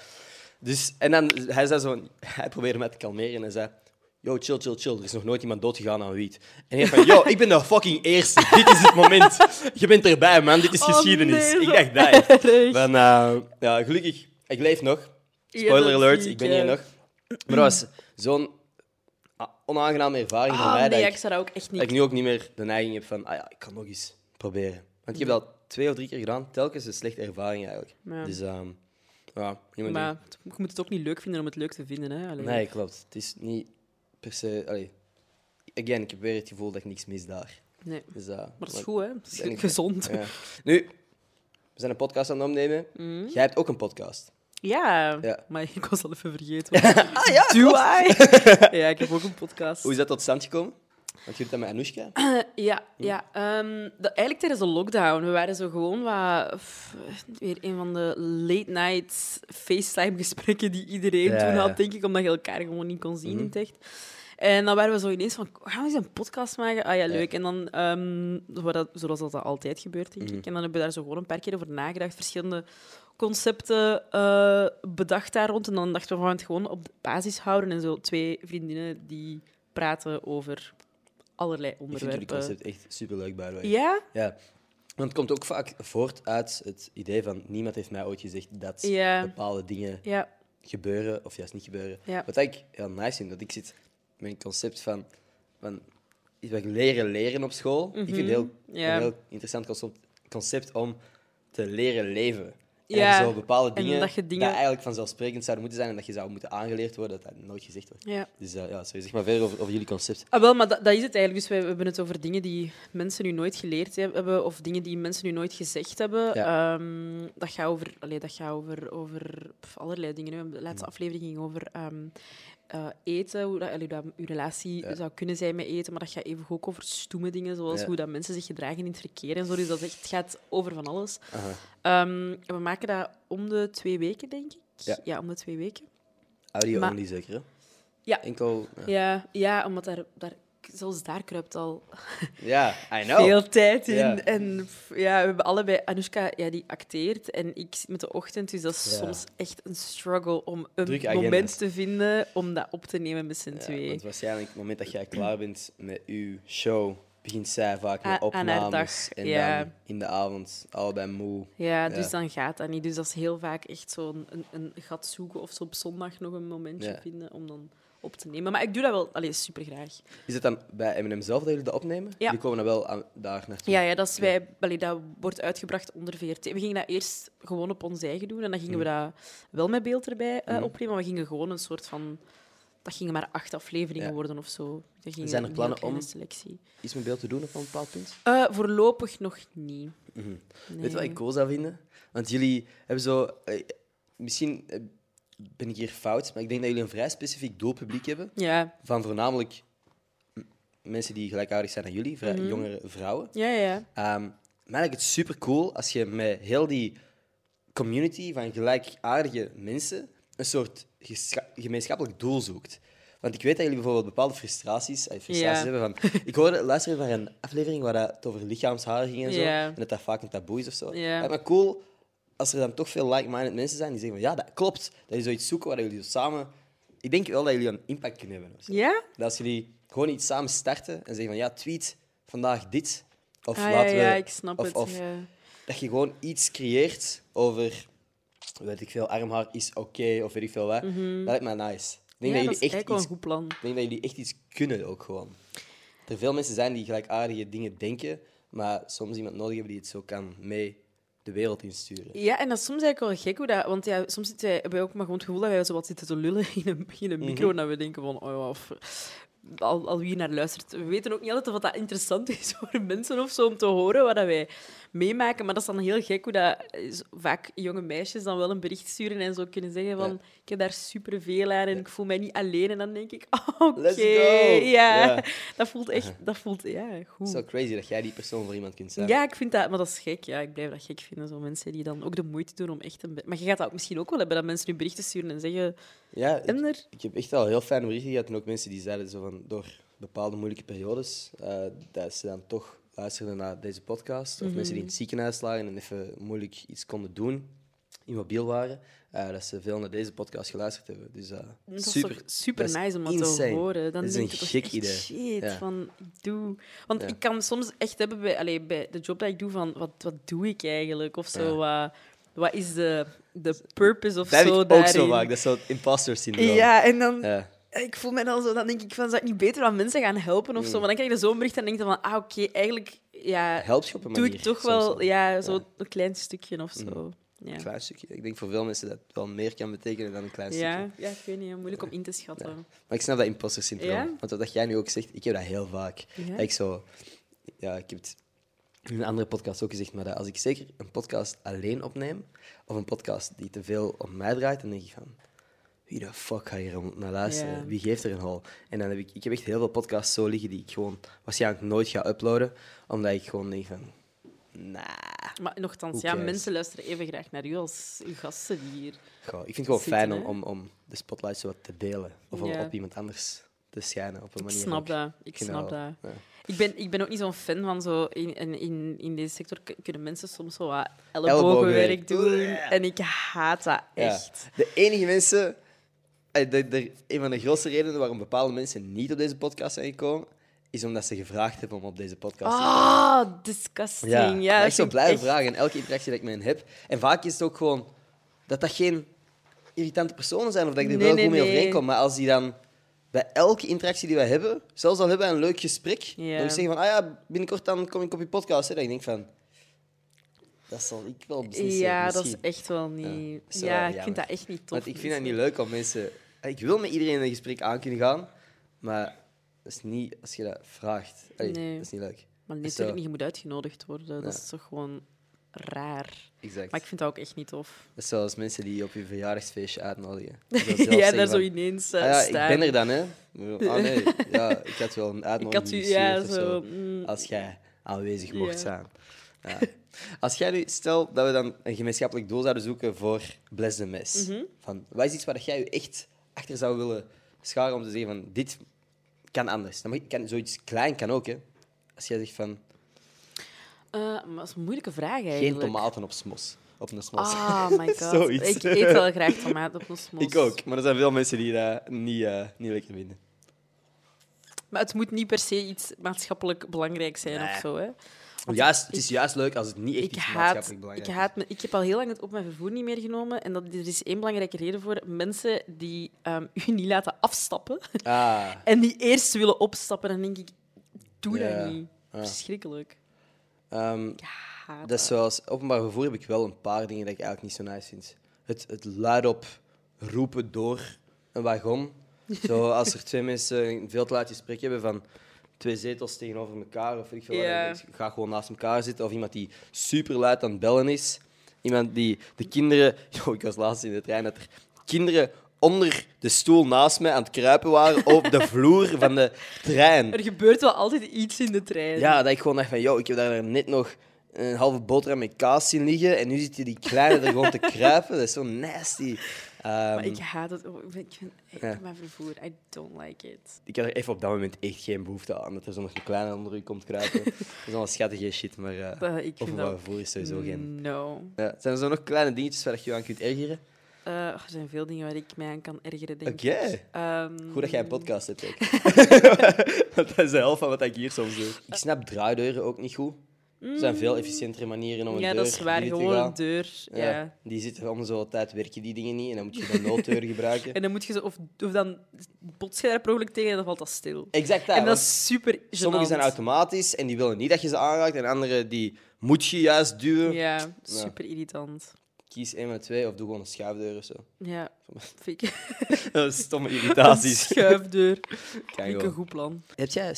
S1: Dus, en dan, hij zei zo, hij probeerde mij te kalmeren en hij zei, yo chill, chill, chill, er is nog nooit iemand doodgegaan aan wiet. En hij van, yo, ik ben de fucking eerste, dit is het moment. Je bent erbij man, dit is
S2: Oh,
S1: geschiedenis.
S2: nee,
S1: ik
S2: zo
S1: dacht dat echt.
S2: Erg.
S1: Maar nou, ja, gelukkig, ik leef nog.
S2: Ja,
S1: Spoiler
S2: dat
S1: alert,
S2: zie
S1: ik ben
S2: ik,
S1: hier
S2: ja.
S1: nog. Maar dat was zo'n ah, onaangename ervaring voor
S2: Ah,
S1: mij.
S2: nee,
S1: dat,
S2: ik
S1: ik,
S2: zou dat ook echt niet.
S1: dat ik nu ook niet meer de neiging heb van, ah ja, ik kan nog eens proberen. Want ik heb dat twee of drie keer gedaan, telkens een slechte ervaring eigenlijk.
S2: Ja.
S1: Dus ehm, ja, niemand
S2: maar het- je moet het ook niet leuk vinden om het leuk te vinden. Hè? Allee.
S1: Nee, klopt. Het is niet per se... Allee, again, ik heb weer het gevoel dat ik niks mis daar.
S2: Nee.
S1: Dus, eh,
S2: Maar dat
S1: maar-
S2: is goed, hè? Het is
S1: Ben ik-
S2: gezond.
S1: Ja. Nu, we zijn een podcast aan het opnemen.
S2: Mhm.
S1: Jij hebt ook een podcast.
S2: Ja.
S1: Ja.
S2: maar ik was al even vergeten. ah ja, Do I? ja, ik heb ook een podcast.
S1: Hoe is dat tot stand gekomen? Want je doet dat met Anoushka.
S2: Ja, ja. ehm, dat- eigenlijk tijdens de lockdown. We waren zo gewoon wat, pff, weer een van de late-night FaceTime-gesprekken die iedereen
S1: Ja,
S2: toen
S1: ja.
S2: had, denk ik, omdat je elkaar gewoon niet kon zien in het echt. En dan waren we zo ineens van, gaan we eens een podcast maken? Ah ja, leuk. En dan, ehm, zo- dat- zoals dat altijd gebeurt, denk ik. En dan hebben we daar zo gewoon een paar keer over nagedacht. Verschillende concepten eh, bedacht daar rond. En dan dachten we, we gaan het gewoon op de basis houden. En zo twee vriendinnen die praten over allerlei
S1: Ik vind jullie
S2: onderwerpen.
S1: concept echt superleuk, by the way.
S2: Ja?
S1: Ja. Want het komt ook vaak voort uit het idee van niemand heeft mij ooit gezegd dat
S2: Ja.
S1: bepaalde dingen
S2: Ja.
S1: gebeuren of juist niet gebeuren.
S2: Ja.
S1: Wat ik heel nice vind, dat ik zit met een concept van, van iets wat ik leren leren op school. Ik vind het heel,
S2: Mhm. Ja.
S1: een heel interessant concept, concept om te leren leven.
S2: Ja.
S1: En zo bepaalde
S2: En
S1: dingen,
S2: dat je dingen-
S1: die eigenlijk vanzelfsprekend zouden moeten zijn en dat je zou moeten aangeleerd worden, dat dat nooit gezegd wordt.
S2: ja.
S1: Dus eh, ja, sorry, zeg maar verder over, over jullie concept.
S2: Ah, wel, maar dat, dat is het eigenlijk. Dus wij- we hebben het over dingen die mensen nu nooit geleerd heb- hebben of dingen die mensen nu nooit gezegd hebben.
S1: Ja.
S2: Ehm, dat gaat over, allee, dat gaat over, over pff, allerlei dingen. hè. De
S1: Mm.
S2: laatste aflevering ging over ehm, eh, eten, hoe, dat, allee, hoe dat uw relatie
S1: Ja.
S2: zou kunnen zijn met eten. Maar dat gaat even ook over stoeme dingen, zoals
S1: Ja.
S2: hoe dat mensen zich gedragen in het verkeer en zo. Dus dat is echt, het gaat over van alles.
S1: Aha.
S2: Ehm, we maken dat om de twee weken, denk ik.
S1: Ja.
S2: ja om de twee weken.
S1: Audio
S2: Maar-
S1: only zeker, hè?
S2: Ja.
S1: Enkel...
S2: Ja, ja omdat daar, daar, zelfs daar kruipt al
S1: Ja, I know.
S2: veel tijd in.
S1: Oh, Ja.
S2: En pff, ja, we hebben allebei... Anoushka, ja, die acteert en ik zit met de ochtend. Dus dat is
S1: Ja.
S2: soms echt een struggle om een
S1: Drukke agendas.
S2: moment te vinden om dat op te nemen met z'n
S1: Ja,
S2: twee.
S1: want waarschijnlijk, op het moment dat jij klaar bent met uw show, begint zij vaak met
S2: A- aan haar
S1: opnames.
S2: dag,
S1: En
S2: ja.
S1: dan in de avond, allebei moe.
S2: Ja, dus
S1: Ja.
S2: dan gaat dat niet. Dus dat is heel vaak echt zo'n een, een gat zoeken of zo op zondag nog een momentje
S1: Ja.
S2: vinden om dan op te nemen. Maar ik doe dat wel allee, super graag.
S1: Is het dan bij Eminem zelf dat jullie dat opnemen?
S2: Ja.
S1: Die komen dan wel aan, daar naartoe.
S2: Ja, ja, dat, is wij, allee, dat wordt uitgebracht onder VRT. We gingen dat eerst gewoon op ons eigen doen en dan gingen we dat wel met beeld erbij eh, opnemen. Maar we gingen gewoon een soort van. Dat gingen maar acht afleveringen
S1: Ja.
S2: worden of zo. Dat gingen
S1: Zijn er
S2: een heel
S1: plannen
S2: kleine
S1: om-
S2: Selectie.
S1: Iets met beeld te doen op een bepaald punt?
S2: Eh, voorlopig nog niet.
S1: Mhm. Weet je wat ik cool zou vinden? Want jullie hebben zo... eh, misschien eh, ben ik hier fout, maar ik denk dat jullie een vrij specifiek doelpubliek hebben.
S2: Ja,
S1: Van voornamelijk m- mensen die gelijkaardig zijn aan jullie, vrij
S2: Mhm.
S1: jongere vrouwen.
S2: ja, ja. ja.
S1: Ehm, maar ik het super cool als je met heel die community van gelijkaardige mensen een soort gescha- gemeenschappelijk doel zoekt. Want ik weet dat jullie bijvoorbeeld bepaalde frustraties, eh, frustraties
S2: Ja.
S1: hebben. Van, ik hoorde luisteren naar een aflevering waar dat het over lichaamshaar ging en zo.
S2: Ja.
S1: En dat dat vaak een taboe is of zo.
S2: Ja.
S1: Lijkt me cool als er dan toch veel like-minded mensen zijn die zeggen van ja, dat klopt. Dat jullie zoiets zoeken waar jullie zo samen... Ik denk wel dat jullie een impact kunnen hebben. of zo.
S2: Ja?
S1: Dat als jullie gewoon iets samen starten en zeggen van ja, tweet vandaag dit. Of
S2: Ah, ja,
S1: laten we.
S2: ja, ik snap
S1: of,
S2: het.
S1: Of
S2: ja.
S1: dat je gewoon iets creëert over, weet ik veel, armhaar is oké of weet ik veel wat. Dat lijkt mij nice. Ik denk,
S2: Mhm. Ja,
S1: dat
S2: dat is
S1: jullie echt
S2: eigenlijk wel
S1: iets,
S2: een goed plan.
S1: ik denk dat jullie echt iets kunnen ook gewoon. Dat Er veel mensen zijn die gelijkaardige dingen denken, maar soms iemand nodig hebben die het zo kan mee de wereld insturen.
S2: Ja, en dat is soms eigenlijk wel gek hoe dat. Want ja, soms zitten wij, hebben wij ook maar gewoon het gevoel dat wij zo wat zitten te lullen in een, in een micro.
S1: Mhm.
S2: En dat we denken van, oh ja, of, al, al wie naar luistert. We weten ook niet altijd of dat interessant is voor mensen of zo om te horen wat dat wij meemaken. Maar dat is dan heel gek hoe dat eh, zo- vaak jonge meisjes dan wel een bericht sturen en zo kunnen zeggen van,
S1: Ja.
S2: ik heb daar superveel aan en ik voel mij niet alleen. En dan denk ik, oh, oké.
S1: Let's go.
S2: Ja,
S1: Ja.
S2: dat voelt echt, dat voelt, ja,
S1: Het
S2: goed.
S1: is wel crazy dat jij die persoon voor iemand kunt zijn.
S2: Ja, ik vind dat, maar dat is gek. Ja, ik blijf dat gek vinden. Zo mensen die dan ook de moeite doen om echt een. be- Maar je gaat dat ook misschien ook wel hebben dat mensen nu berichten sturen en zeggen.
S1: Ja, ik-
S2: En er.
S1: Ik heb echt al heel fijne berichten gehad en ook mensen die zeiden zo van door bepaalde moeilijke periodes eh, dat ze dan toch luisterden naar deze podcast. Of mensen
S2: Mhm.
S1: die in het ziekenhuis lagen en even moeilijk iets konden doen, immobiel waren, eh, dat ze veel naar deze podcast geluisterd hebben. Dus eh,
S2: Dat is
S1: super,
S2: toch super
S1: dat is
S2: nice om dat
S1: insane.
S2: te horen. Dan
S1: dat is
S2: denk
S1: een
S2: je toch
S1: gek
S2: echt,
S1: idee.
S2: Shit,
S1: Ja.
S2: van doe. Want
S1: Ja.
S2: ik kan soms echt hebben bij, allee, bij de job dat ik doe van wat, wat doe ik eigenlijk of zo. Wat, wat is de, de purpose of
S1: Dat heb ik
S2: zo
S1: ook zo
S2: daarin?
S1: vaak, dat is zo'n imposter syndroom.
S2: Ja, en dan
S1: Ja.
S2: ik voel me dan zo, dan denk ik van, zou ik niet beter aan mensen gaan helpen
S1: Mm.
S2: of zo? Maar dan krijg je zo'n bericht en denk je van, ah, oké, eigenlijk ja,
S1: Helpt je op een
S2: doe ik
S1: manier
S2: toch
S1: soms
S2: wel
S1: wel.
S2: ja, zo een klein stukje of zo. Ja.
S1: Een klein stukje. Ik denk voor veel mensen dat het wel meer kan betekenen dan een klein stukje.
S2: Ja, ja, ik weet niet, moeilijk om in te schatten.
S1: Maar ik snap dat imposter syndroom.
S2: Ja?
S1: Want wat dat jij nu ook zegt, ik heb dat heel vaak.
S2: Ja?
S1: Dat Ik zo, ja, ik heb het in een andere podcast ook gezegd, maar dat als ik zeker een podcast alleen opneem, of een podcast die te veel om mij draait, dan denk ik van, wie de fuck gaat hier om- naar luisteren?
S2: Ja.
S1: Wie geeft er een hol? En dan heb ik, ik heb echt heel veel podcasts zo liggen die ik gewoon waarschijnlijk nooit ga uploaden, omdat ik gewoon denk van, nah.
S2: Ah. Maar nogthans,
S1: Who
S2: ja,
S1: cares?
S2: mensen luisteren even graag naar u als uw gasten hier.
S1: Goh, ik vind het gewoon
S2: Zitten,
S1: fijn om,
S2: hè?
S1: om, om de spotlight zo wat te delen, of om
S2: Ja.
S1: op iemand anders te schijnen op een
S2: Ik
S1: manier.
S2: snap
S1: ook.
S2: dat, ik
S1: vind
S2: snap
S1: wel-
S2: dat.
S1: ja.
S2: Ik ben, ik ben ook niet zo'n fan van zo. In, in, in, in deze sector k- kunnen mensen soms zo wat
S1: Ellebogenwerk.
S2: ellebogenwerk doen. En ik haat dat
S1: Ja.
S2: echt.
S1: De enige mensen. eh, De, de, een van de grootste redenen waarom bepaalde mensen niet op deze podcast zijn gekomen, is omdat ze gevraagd hebben om op deze podcast te komen.
S2: Ah, disgusting. Ja,
S1: maar
S2: dat
S1: echt zo
S2: vind ik
S1: blijven
S2: echt-
S1: vragen in elke interactie die ik met hen heb. En vaak is het ook gewoon dat dat geen irritante personen zijn of dat ik er
S2: Nee,
S1: wel
S2: nee,
S1: goed mee
S2: nee.
S1: overeenkom. Maar als die dan bij elke interactie die wij hebben, zelfs al hebben we een leuk gesprek,
S2: Ja.
S1: dan zeggen van, ah ja, binnenkort dan kom ik op je podcast. Hè. Dan denk ik van, dat zal ik wel beslissen.
S2: Ja, dat is
S1: dus misschien.
S2: echt wel niet.
S1: is
S2: Ja,
S1: wel
S2: ik vind
S1: jammer.
S2: dat echt niet tof.
S1: Want ik vind het niet leuk om mensen. Ik wil met iedereen in een gesprek aan kunnen gaan, maar dat is niet als je dat vraagt. Allee,
S2: Nee.
S1: Dat is niet leuk.
S2: Maar
S1: Dus,
S2: natuurlijk
S1: eh,
S2: niet, je moet uitgenodigd worden. Dat
S1: Ja.
S2: is toch gewoon raar.
S1: Exact.
S2: Maar ik vind dat ook echt niet tof.
S1: Dat is zoals mensen die je op je verjaardagsfeestje uitnodigen.
S2: ja, daar zo ineens eh,
S1: Ah ja, ik
S2: staan.
S1: ben er dan, hè? Ah nee, ja, ik had wel een uitnodiging.
S2: Ik had u, ja,
S1: gestuurd of
S2: zo. mm,
S1: Als jij aanwezig mocht
S2: Ja.
S1: zijn. Ja. Als jij nu, stel dat we dan een gemeenschappelijk doel zouden zoeken voor Bless the Mess.
S2: Mhm.
S1: Van, wat is iets waar dat jij je echt achter zou willen scharen om te zeggen van, dit kan anders. Dan mag, kan, zoiets klein kan ook, hè. Als jij zegt van,
S2: eh, maar dat is een moeilijke vraag eigenlijk.
S1: geen tomaten op smos. Op een smos.
S2: Oh my god.
S1: Zoiets.
S2: ik eet wel graag tomaten op een smos.
S1: Ik ook, maar er zijn veel mensen die dat niet, eh, niet lekker vinden.
S2: Maar het moet niet per se iets maatschappelijk belangrijk zijn
S1: Nee.
S2: of zo. Hè.
S1: Want juist, het is juist leuk als het niet echt
S2: Ik
S1: iets
S2: haat,
S1: maatschappelijk
S2: ik
S1: belangrijk
S2: haat me, ik heb al heel lang het op mijn vervoer niet meer genomen. En dat, er is één belangrijke reden voor. Mensen die ehm, u niet laten afstappen
S1: is. Ah,
S2: en die eerst willen opstappen, dan denk ik, doe
S1: Ja, Ah.
S2: dat niet. Verschrikkelijk.
S1: ehm,
S2: Ik haat
S1: dat is zoals openbaar vervoer heb ik wel een paar dingen dat ik eigenlijk niet zo nice vind. Het, het luidop roepen door een wagon. Zo als er twee mensen een veel te laat gesprek hebben van twee zetels tegenover elkaar of weet ik veel wat,
S2: Ja.
S1: dan denk ik, ga gewoon naast elkaar zitten of iemand die super luid aan het bellen is. Iemand die de kinderen, Yo, ik was laatst in de trein dat er kinderen onder de stoel naast mij aan het kruipen waren op de vloer van de trein.
S2: Er gebeurt wel altijd iets in de trein.
S1: Ja, dat ik gewoon dacht van, yo, ik heb daar net nog een halve boterham met kaas zien liggen en nu zit je die kleine er gewoon te kruipen. Dat is zo nasty.
S2: Maar
S1: Ehm,
S2: ik
S1: ik...
S2: haat het. Oh, Ik ben, ik ben- ik
S1: Ja.
S2: heb mijn vervoer. I don't like it.
S1: had er even op dat moment echt geen behoefte aan, dat er zo nog een kleine onder u komt kruipen. dat is allemaal schattige shit, maar eh
S2: Eh, ik vind
S1: openbaar
S2: dat... Mm.
S1: vervoer is sowieso geen...
S2: No.
S1: Ja, zijn er zo nog kleine dingetjes waar je je aan kunt ergeren?
S2: Eh, er zijn veel dingen waar ik mij aan kan ergeren, denk
S1: Oké.
S2: ik. Ehm,
S1: Goed dat jij een podcast hebt, ook. Want dat is de helft van wat ik hier soms doe. Ik snap draaideuren ook niet goed. Er zijn veel efficiëntere manieren om een
S2: Ja,
S1: deur
S2: dat is waar.
S1: binnen te
S2: Gewoon
S1: gaan.
S2: een deur. Ja.
S1: Ja, die zitten om zo'n tijd werken die dingen niet en dan moet je de nooddeur gebruiken.
S2: En dan moet je ze... Of, of dan bots je daar per ongeluk tegen en dan valt dat stil.
S1: Exact dat.
S2: en dat
S1: want
S2: is super gênant.
S1: sommige zijn automatisch en die willen niet dat je ze aanraakt en andere die moet je juist duwen.
S2: Ja, super irritant.
S1: Kies één van de twee of doe gewoon een schuifdeur of zo.
S2: Ja, vind ik
S1: Stomme
S2: een
S1: irritaties.
S2: schuifdeur.
S1: Kan
S2: Vind ik een
S1: gewoon.
S2: goed plan.
S1: Heb jij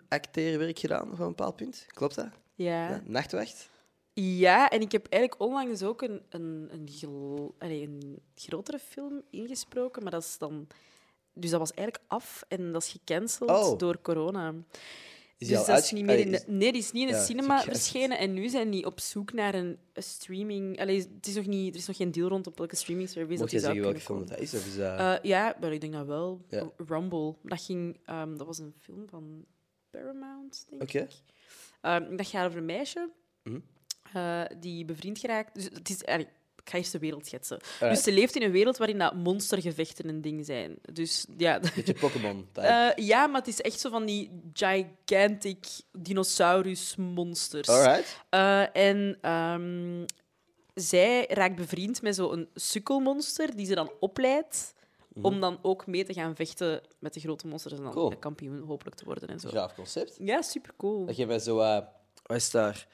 S1: stemacteerwerk gedaan op een bepaald punt? Klopt dat?
S2: Ja.
S1: Ja, Nachtwacht?
S2: Ja, en ik heb eigenlijk onlangs dus ook een, een, een, gel- allee, een grotere film ingesproken, maar dat is dan... Dus dat was eigenlijk af en dat is gecanceld
S1: Oh,
S2: door corona.
S1: Is die
S2: dus
S1: al
S2: dat is
S1: uitge-
S2: niet meer in
S1: Allee,
S2: de,
S1: is-
S2: nee, die is niet in
S1: Ja,
S2: de
S1: is
S2: cinema
S1: gecanceld.
S2: verschenen en nu zijn die op zoek naar een, een streaming... Allee, het is nog niet, er is nog geen deal rond op welke streaming service dat
S1: Mocht je
S2: die zou
S1: zeggen welke
S2: kunnen
S1: film
S2: komen.
S1: dat is? Of is dat...
S2: Eh, ja, maar ik denk dat wel.
S1: Ja.
S2: Rumble. Dat, ging, ehm, dat was een film van Paramount, denk
S1: Oké.
S2: ik. Ehm, dat gaat over een meisje
S1: Mhm.
S2: eh, die bevriend geraakt. Dus het is eigenlijk. Ik ga eerst de wereld schetsen.
S1: Alright.
S2: Dus ze leeft in een wereld waarin dat monstergevechten een ding zijn. Dus ja,
S1: Beetje Pokémon. type.
S2: Eh, ja, maar het is echt zo van die gigantic dinosaurus-monsters.
S1: Alright.
S2: Eh, en ehm, zij raakt bevriend met zo'n sukkelmonster die ze dan opleidt om dan ook mee te gaan vechten met de grote monsters en dan
S1: Mhm. Cool.
S2: eh, kampioen hopelijk te worden en zo. Ja,
S1: Graaf concept.
S2: super cool.
S1: Dat je bij zo... eh wat is daar?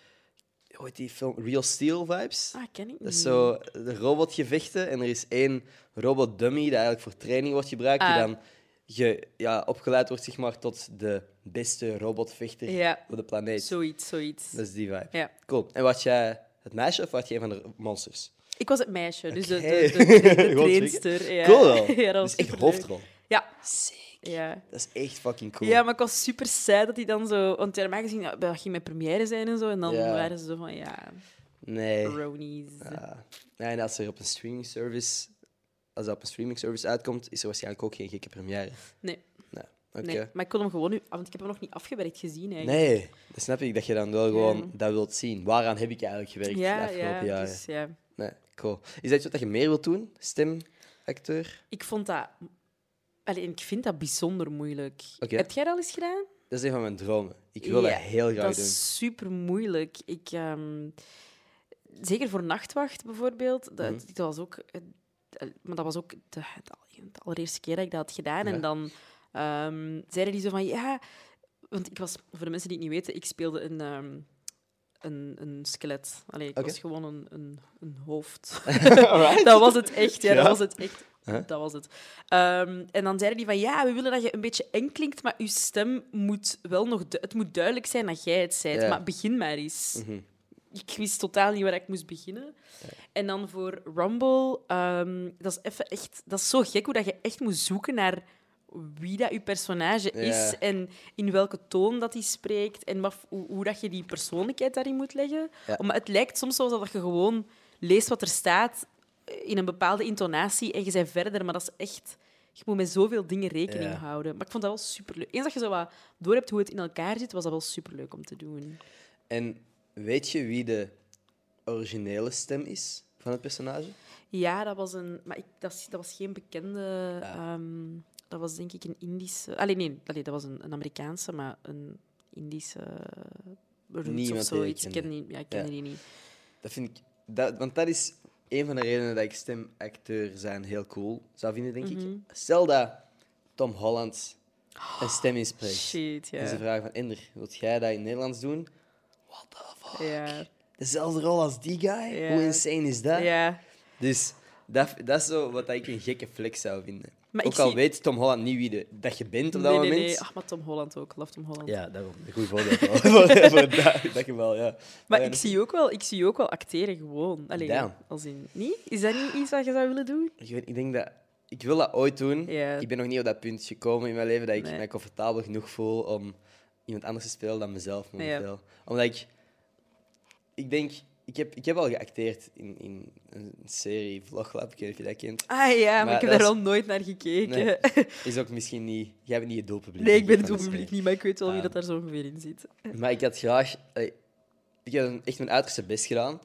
S1: Hoe heet die film? Real Steel vibes?
S2: Ah, ken ik
S1: Dat
S2: niet.
S1: is zo
S2: Hmm.
S1: de robotgevechten en er is één robotdummy die eigenlijk voor training wordt gebruikt,
S2: Ah.
S1: die dan ge, ja, opgeleid wordt zeg maar, tot de beste robotvechter
S2: Ja.
S1: op de planeet.
S2: Zoiets, zoiets.
S1: Dat is die vibe.
S2: Ja.
S1: Cool. En was jij het meisje of was jij een van de monsters?
S2: Ik was het meisje, dus de,
S1: Oké.
S2: de, de, de,
S1: Gewoon
S2: trainster. Ja.
S1: Cool wel.
S2: ja, dat was
S1: dus echt
S2: superleuk.
S1: hoofdrol.
S2: Ja.
S1: Sick.
S2: Ja.
S1: Dat is echt fucking cool.
S2: ja, maar ik was super saai dat hij dan zo... Want ja, normaal gezien, ja, dat ging met première zijn en zo. En dan
S1: Ja.
S2: waren ze zo van, ja,
S1: Nee.
S2: bronies.
S1: Ja. nee. En als er op een streaming service... Als dat op een streaming service uitkomt, is er waarschijnlijk ook geen gekke première.
S2: Nee.
S1: Nee. Oké.
S2: Nee, maar ik kon hem gewoon nu... ah, Want ik heb hem nog niet afgewerkt gezien, eigenlijk.
S1: Nee, dat snap ik. Dat je dan wel gewoon dat wilt zien. Waaraan heb ik eigenlijk gewerkt de
S2: ja,
S1: afgelopen
S2: ja,
S1: jaren?
S2: dus ja.
S1: Nee, cool. Is dat iets wat je meer wilt doen? Stemacteur?
S2: Ik vond dat... Allee, ik vind dat bijzonder moeilijk.
S1: Oké.
S2: Heb jij dat al eens gedaan?
S1: Dat is een van mijn dromen. Ik wil
S2: Ja,
S1: dat heel graag
S2: Dat
S1: doen.
S2: is super moeilijk. Ik, ehm, zeker voor nachtwacht bijvoorbeeld. Dat,
S1: Mhm.
S2: dat was ook, eh, eh, maar dat was ook de, het al- het allereerste keer dat ik dat had gedaan.
S1: Ja.
S2: En dan ehm, zeiden die zo van ja. Want ik was, voor de mensen die het niet weten, ik speelde een, ehm, een, een skelet. Allee, ik
S1: Oké.
S2: was gewoon een, een, een hoofd.
S1: Alright.
S2: Dat was het echt, ja,
S1: Ja.
S2: dat was het echt.
S1: Huh?
S2: Dat was het. Ehm, en dan zeiden die van, ja, we willen dat je een beetje eng klinkt, maar je stem moet wel nog... du- het moet duidelijk zijn dat jij het zijt,
S1: Ja.
S2: maar begin maar eens. Ik wist totaal niet waar ik moest beginnen. En dan voor Rumble, ehm, dat, is even echt, dat is zo gek hoe dat je echt moet zoeken naar wie dat je personage
S1: Ja.
S2: is en in welke toon dat hij spreekt en wat, hoe, hoe dat je die persoonlijkheid daarin moet leggen.
S1: Ja.
S2: Maar het lijkt soms zo dat je gewoon leest wat er staat in een bepaalde intonatie en je bent verder, maar dat is echt... Je moet met zoveel dingen rekening
S1: Ja.
S2: houden. Maar ik vond dat wel superleuk. Eens dat je zo wat door hebt hoe het in elkaar zit, was dat wel superleuk om te doen.
S1: En weet je wie de originele stem is van het personage?
S2: Ja, dat was een. Maar ik, dat, is- dat was geen bekende.
S1: Ja.
S2: ehm, dat was denk ik een Indische... Allee, nee, allee, dat was een, een Amerikaanse, maar een Indische roots
S1: Niemand
S2: of
S1: die
S2: zoiets.
S1: ik
S2: Ik ken
S1: kende.
S2: die, ja, ik ken
S1: Ja.
S2: die niet.
S1: Dat vind ik... Dat, want dat is een van de redenen dat ik stemacteur zijn heel cool zou vinden, denk
S2: Mhm.
S1: ik. Stel dat Tom Holland een stem inspreekt.
S2: Shit,
S1: En ze
S2: ja.
S1: vragen van, Ender, wilt jij dat in het Nederlands doen? What the fuck?
S2: Ja.
S1: Dezelfde rol als die guy?
S2: Ja.
S1: Hoe insane is dat?
S2: ja.
S1: Dus dat, dat is zo wat ik een gekke flex zou vinden.
S2: Maar
S1: Ook
S2: ik
S1: al
S2: zie-
S1: weet Tom Holland niet wie de, dat je bent op dat
S2: nee,
S1: moment.
S2: Nee, Ah. nee. Ach, maar Tom Holland ook. Love Tom Holland.
S1: Ja, daarom. Een goed voorbeeld. wel. voor, voor dat, dat geval, ja.
S2: Maar
S1: Oh Ja, dus,
S2: ik, zie ook wel, ik zie ook wel acteren gewoon. Allee,
S1: Damn.
S2: als in... Niet? Is dat niet iets wat je zou willen doen?
S1: Ik, weet, ik denk dat... Ik wil dat ooit doen.
S2: Ja.
S1: Ik ben nog niet op dat punt gekomen in mijn leven dat ik
S2: Nee.
S1: mij comfortabel genoeg voel om iemand anders te spelen dan mezelf momenteel. Omdat ik... Ik denk... Ik heb, ik heb al geacteerd in, in een serie, Vloglab, ik weet niet of je dat kent.
S2: Ah ja, maar,
S1: Maar
S2: ik heb
S1: dat
S2: daar
S1: is-
S2: al nooit naar gekeken.
S1: Nee.
S2: Nee,
S1: Is ook misschien niet... Jij bent niet het doelpubliek.
S2: ik ben het
S1: van de
S2: publiek
S1: serie.
S2: niet, maar ik weet wel wie
S1: Ah.
S2: dat daar zo ongeveer in zit.
S1: Maar ik had graag... eh, Ik heb echt mijn uiterste best gedaan.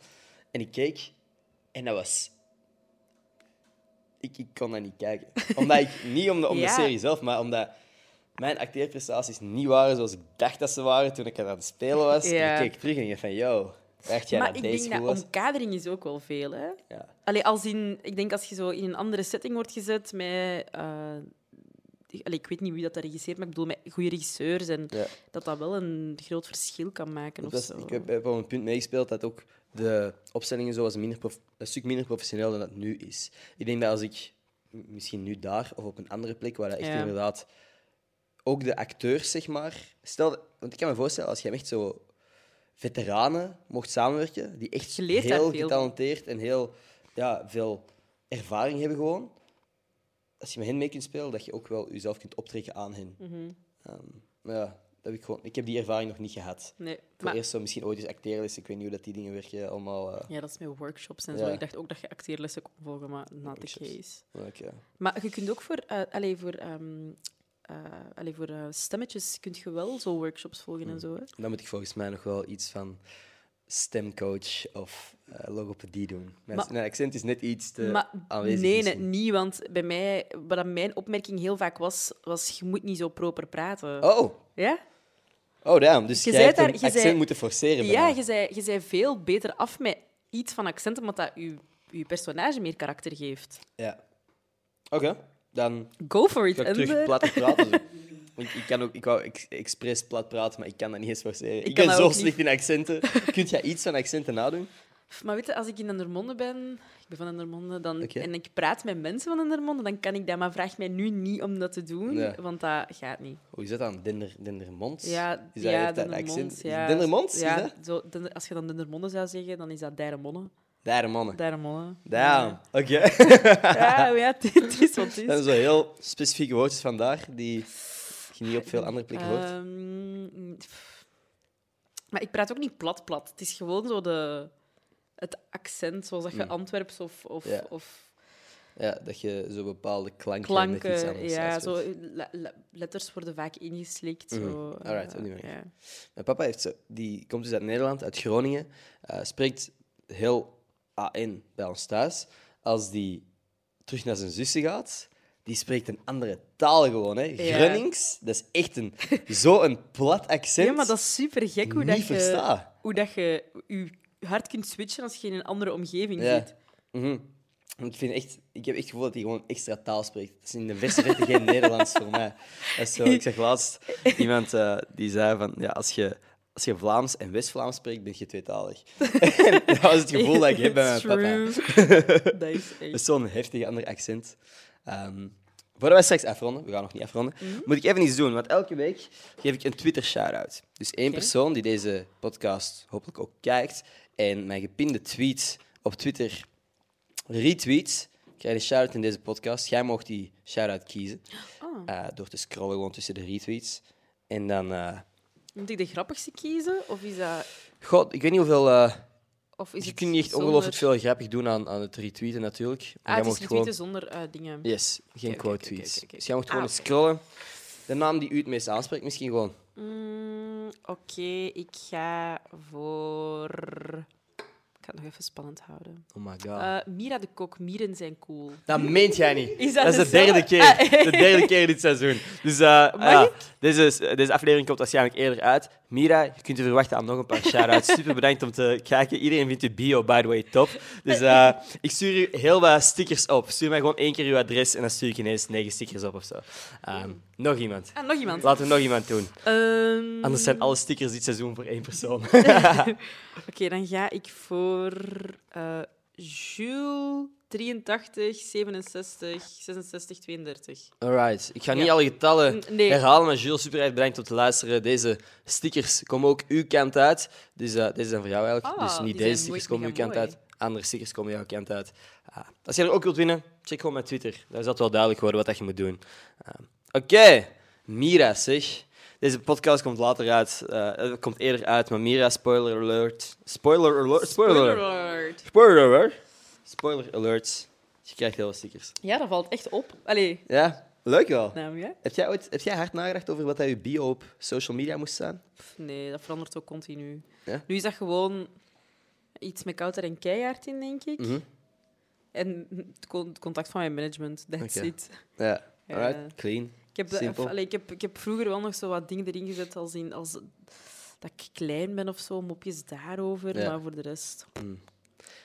S1: En ik keek en dat was... Ik, ik kon dat niet kijken. Omdat ik, niet om de, om
S2: Ja.
S1: de serie zelf, maar omdat mijn acteerprestaties niet waren zoals ik dacht dat ze waren toen ik aan het spelen was.
S2: Ja.
S1: En ik keek terug en ik dacht van, yo, dacht jij
S2: maar
S1: dat
S2: ik
S1: deze
S2: denk
S1: goed
S2: dat
S1: was?
S2: omkadering is ook wel veel, hè?
S1: Ja.
S2: Allee, als in, ik denk als je zo in een andere setting wordt gezet met... eh, die- allee, ik weet niet wie dat, dat regisseert, maar ik bedoel met goede regisseurs en
S1: Ja.
S2: dat dat wel een groot verschil kan maken. Of
S1: Dat is-
S2: zo.
S1: ik heb, heb op een punt meegespeeld dat ook de opstellingen zo was minder prof- een stuk minder professioneel dan dat het nu is. Ik denk dat als ik m- misschien nu daar of op een andere plek, waar dat echt
S2: Ja.
S1: inderdaad ook de acteurs, zeg maar. Stel, dat- want ik kan me voorstellen, als je echt zo veteranen mocht samenwerken, die echt
S2: Je leert daar
S1: heel
S2: veel.
S1: getalenteerd en heel ja, veel ervaring hebben gewoon. Als je met hen mee kunt spelen, dat je ook wel jezelf kunt optrekken aan hen.
S2: Mhm.
S1: Ehm, maar ja, dat heb ik, gewoon, ik heb die ervaring nog niet gehad.
S2: Nee,
S1: Voor
S2: maar-
S1: eerst zo misschien ooit eens acteerles. Ik weet niet hoe dat die dingen werken allemaal. eh,
S2: Ja, dat is met workshops en
S1: Ja.
S2: zo. Ik dacht ook dat je acteerlessen kon volgen, maar not the
S1: Workshops.
S2: case.
S1: maar ik, eh,
S2: Maar je kunt ook voor, eh allee, voor, ehm, eh, allee, voor eh, stemmetjes kun je wel zo workshops volgen
S1: Hmm.
S2: en zo. Hè?
S1: dan moet ik volgens mij nog wel iets van stemcoach of eh, logopedie doen. Mijn,
S2: Maar-
S1: mijn accent is net iets te
S2: maar
S1: aanwezig.
S2: nee, nee,
S1: misschien.
S2: niet, want bij mij, wat dat mijn opmerking heel vaak was, was je moet niet zo proper praten.
S1: Oh,
S2: Ja?
S1: oh damn. Dus
S2: Je
S1: je
S2: zei
S1: hebt
S2: daar-
S1: een
S2: je zei-
S1: accent moeten forceren.
S2: Ja,
S1: bijna.
S2: je zei, je zei veel beter af met iets van accent, omdat dat je, je personage meer karakter geeft.
S1: ja. Oké, dan
S2: Go for it,
S1: ga ik terug
S2: Ender.
S1: plat praten. zo. Want ik, kan ook, ik wou ex- expres plat praten, maar ik kan dat niet eens forceren. Ik,
S2: kan
S1: ben
S2: dat
S1: zo
S2: ook
S1: slecht in accenten. Kunt jij iets van accenten nadoen?
S2: Maar weet je, als ik in Endermonde ben, ik ben van Endermonde, dan,
S1: Oké.
S2: en ik praat met mensen van Endermonde, dan kan ik dat, maar vraag mij nu niet om dat te doen,
S1: Nee.
S2: want dat gaat niet.
S1: Hoe is dat dan? Dender, Dendermonds?
S2: Ja,
S1: is dat,
S2: ja,
S1: heeft dat een
S2: Dendermonds,
S1: accent?
S2: ja.
S1: Dendermonds?
S2: Ja,
S1: Is dat?
S2: Zo, Dender- als je dan Dendermonde zou zeggen, dan is dat Dijremonde.
S1: Daar, mannen.
S2: Dijremonde.
S1: Damn. Oké.
S2: Ja, ja, het het is wat het
S1: Dat
S2: is.
S1: zijn zo heel specifieke woordjes vandaar die je niet op veel andere plekken
S2: Eh.
S1: hoort.
S2: Ehm, pff. maar ik praat ook niet plat plat. Het is gewoon zo de, het accent, zoals dat je Antwerps of, of,
S1: Hmm. Ja.
S2: of
S1: Ja, dat je zo bepaalde klanken, met iets
S2: klanken.
S1: anders
S2: Ja,
S1: uitspreekt.
S2: zo, le- le- letters worden vaak ingeslikt. Zo,
S1: Mhm. Alright,
S2: eh,
S1: op die manier.
S2: ja.
S1: Mijn papa heeft zo, die komt dus uit Nederland, uit Groningen. eh, spreekt heel AN bij ons thuis. Als die terug naar zijn zussen gaat, die spreekt een andere taal gewoon. Hè.
S2: Ja.
S1: Grunnings, dat is echt een, zo'n plat accent.
S2: Ja, maar dat is super gek hoe,
S1: Niet
S2: dat je,
S1: versta.
S2: hoe dat je je hart kunt switchen als je in een andere omgeving
S1: Ja.
S2: zit.
S1: Mhm. Ik, vind echt, ik heb echt het gevoel dat hij gewoon extra taal spreekt. Dat is in de verste verte geen Nederlands voor mij. Dat is zo, ik zag laatst iemand eh, die zei van... Ja, als, je, als je Vlaams en West-Vlaams spreekt, ben je tweetalig. En dat was het gevoel dat ik heb bij mijn
S2: It's
S1: papa. Dus
S2: true. dat is
S1: Dat is
S2: echt...
S1: zo'n heftig ander accent. Ehm, voordat we straks afronden, we gaan nog niet afronden,
S2: Mhm.
S1: moet ik even iets doen. Want elke week geef ik een Twitter shout-out. Dus één persoon die deze podcast hopelijk ook kijkt en mijn gepinde tweet op Twitter retweet, krijg je een shout-out in deze podcast. Jij mag die shout-out kiezen
S2: Oh.
S1: eh, door te scrollen gewoon tussen de retweets. En dan... eh,
S2: Moet ik de grappigste kiezen? Of is dat...
S1: god, ik weet niet hoeveel... eh,
S2: Of is
S1: je
S2: het
S1: kunt niet echt
S2: zonder-
S1: ongelooflijk veel grappig doen aan, aan het retweeten natuurlijk. Maar
S2: Ah,
S1: jij
S2: het
S1: mocht
S2: is retweeten zonder eh, dingen.
S1: Yes, geen
S2: oké,
S1: quote
S2: oké,
S1: tweets.
S2: oké, oké,
S1: Dus jij moet
S2: oké.
S1: gewoon
S2: Ah,
S1: eens scrollen. De naam die u het meest aanspreekt, misschien gewoon.
S2: Mm, Oké, ik ga voor... ga het nog even spannend houden.
S1: Oh my god.
S2: Eh, Mira de Kok, mieren zijn cool.
S1: Dat meent jij niet.
S2: Is
S1: dat,
S2: dat
S1: is de
S2: dezelfde?
S1: derde keer.
S2: Ah, eh.
S1: De derde keer dit seizoen. Dus eh, ah, ja.
S2: ik?
S1: deze, deze aflevering komt waarschijnlijk eerder uit. Mira, je kunt u verwachten aan nog een paar shout-outs. Super bedankt om te kijken. Iedereen vindt uw bio, by the way, top. Dus eh, ik stuur u heel wat stickers op. Stuur mij gewoon één keer uw adres en dan stuur ik ineens negen stickers op of zo. Ehm, nog iemand.
S2: Ah, nog iemand.
S1: Laten we nog iemand doen.
S2: Ehm,
S1: Anders zijn alle stickers dit seizoen voor één persoon.
S2: Oké, dan ga ik voor eh Jules 83, 67, 66, 32.
S1: Alright, ik ga niet
S2: Ja.
S1: alle getallen
S2: N- nee.
S1: herhalen, maar Jules, super erg bedankt om te luisteren. Deze stickers komen ook uw kant uit. Dus eh, deze zijn voor jou eigenlijk.
S2: Ah,
S1: dus
S2: die
S1: niet
S2: zijn
S1: deze stickers
S2: mooi-
S1: komen uw
S2: mega
S1: kant
S2: mooi.
S1: uit, andere stickers komen jouw kant uit. Ah, als jij er ook wilt winnen, check gewoon mijn Twitter. Daar zal het wel duidelijk worden wat dat je moet doen. Ah, Oké, Mira zeg. Deze podcast komt later uit, eh, eh, komt eerder uit, maar Mira, spoiler alert. Spoiler alert. Spoiler
S2: Spoiler
S1: alert.
S2: alert.
S1: Spoiler alert. Spoiler alert. Je krijgt heel wat stickers.
S2: Ja, dat valt echt op. Allee,
S1: Ja, leuk wel.
S2: naam ja?
S1: Heb jij, ooit, heb jij hard nagedacht over wat dat je bio op social media moest staan?
S2: Pff, Nee, dat verandert ook continu.
S1: Ja?
S2: Nu is dat gewoon iets met kouder en keihard in, denk ik.
S1: Mhm.
S2: En het con- het contact van mijn management, that's
S1: Oké.
S2: it.
S1: Ja.
S2: Ja.
S1: Alright, clean.
S2: Ik heb, de-
S1: Simpel.
S2: allee, ik, heb, ik heb vroeger wel nog zo wat dingen erin gezet als, in, als dat ik klein ben of zo, mopjes daarover,
S1: Ja. Hmm.
S2: maar voor de rest.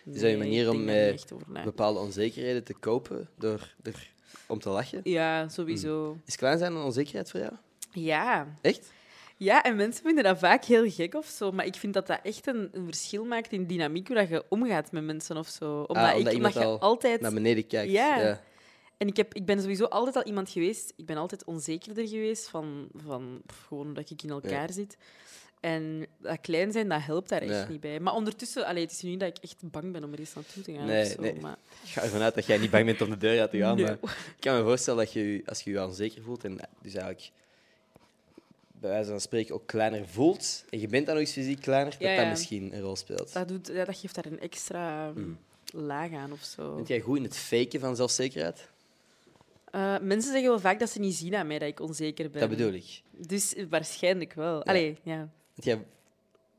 S2: Nee,
S1: Is dat je manier
S2: ik
S1: om eh,
S2: denk daar niet
S1: met
S2: echt over na.
S1: bepaalde onzekerheden te kopen door er om te lachen?
S2: Ja, sowieso.
S1: Is klein zijn een onzekerheid voor jou?
S2: Ja.
S1: Echt?
S2: ja, en mensen vinden dat vaak heel gek of zo, maar ik vind dat dat echt een, een verschil maakt in dynamiek hoe dat je omgaat met mensen of zo. Omdat,
S1: Ah, omdat
S2: ik,
S1: iemand
S2: omdat je
S1: al
S2: altijd.
S1: Naar beneden kijken.
S2: Ja. En ik, heb, ik ben sowieso altijd al iemand geweest. Ik ben altijd onzekerder geweest van, van pff, gewoon dat ik in elkaar zit. En dat klein zijn, dat helpt daar echt
S1: Ja.
S2: niet bij. Maar ondertussen, allee, het is nu niet dat ik echt bang ben om er eens naartoe te gaan.
S1: Nee,
S2: of zo,
S1: nee.
S2: Maar,
S1: Ik ga ervan uit dat jij niet bang bent om de deur uit te gaan.
S2: Nee.
S1: Maar ik kan me voorstellen dat je je, als je je onzeker voelt en dus eigenlijk bij wijze van spreken ook kleiner voelt en je bent dan nog eens fysiek kleiner, dat
S2: Ja,
S1: dat
S2: ja.
S1: misschien een rol speelt.
S2: dat, doet, ja, dat geeft daar een extra
S1: Mm.
S2: laag aan of zo.
S1: Bent jij goed in het faken van zelfzekerheid?
S2: Eh, mensen zeggen wel vaak dat ze niet zien aan mij dat ik onzeker ben.
S1: Dat bedoel ik.
S2: Dus eh, waarschijnlijk wel. Allee, ja.
S1: Want jij,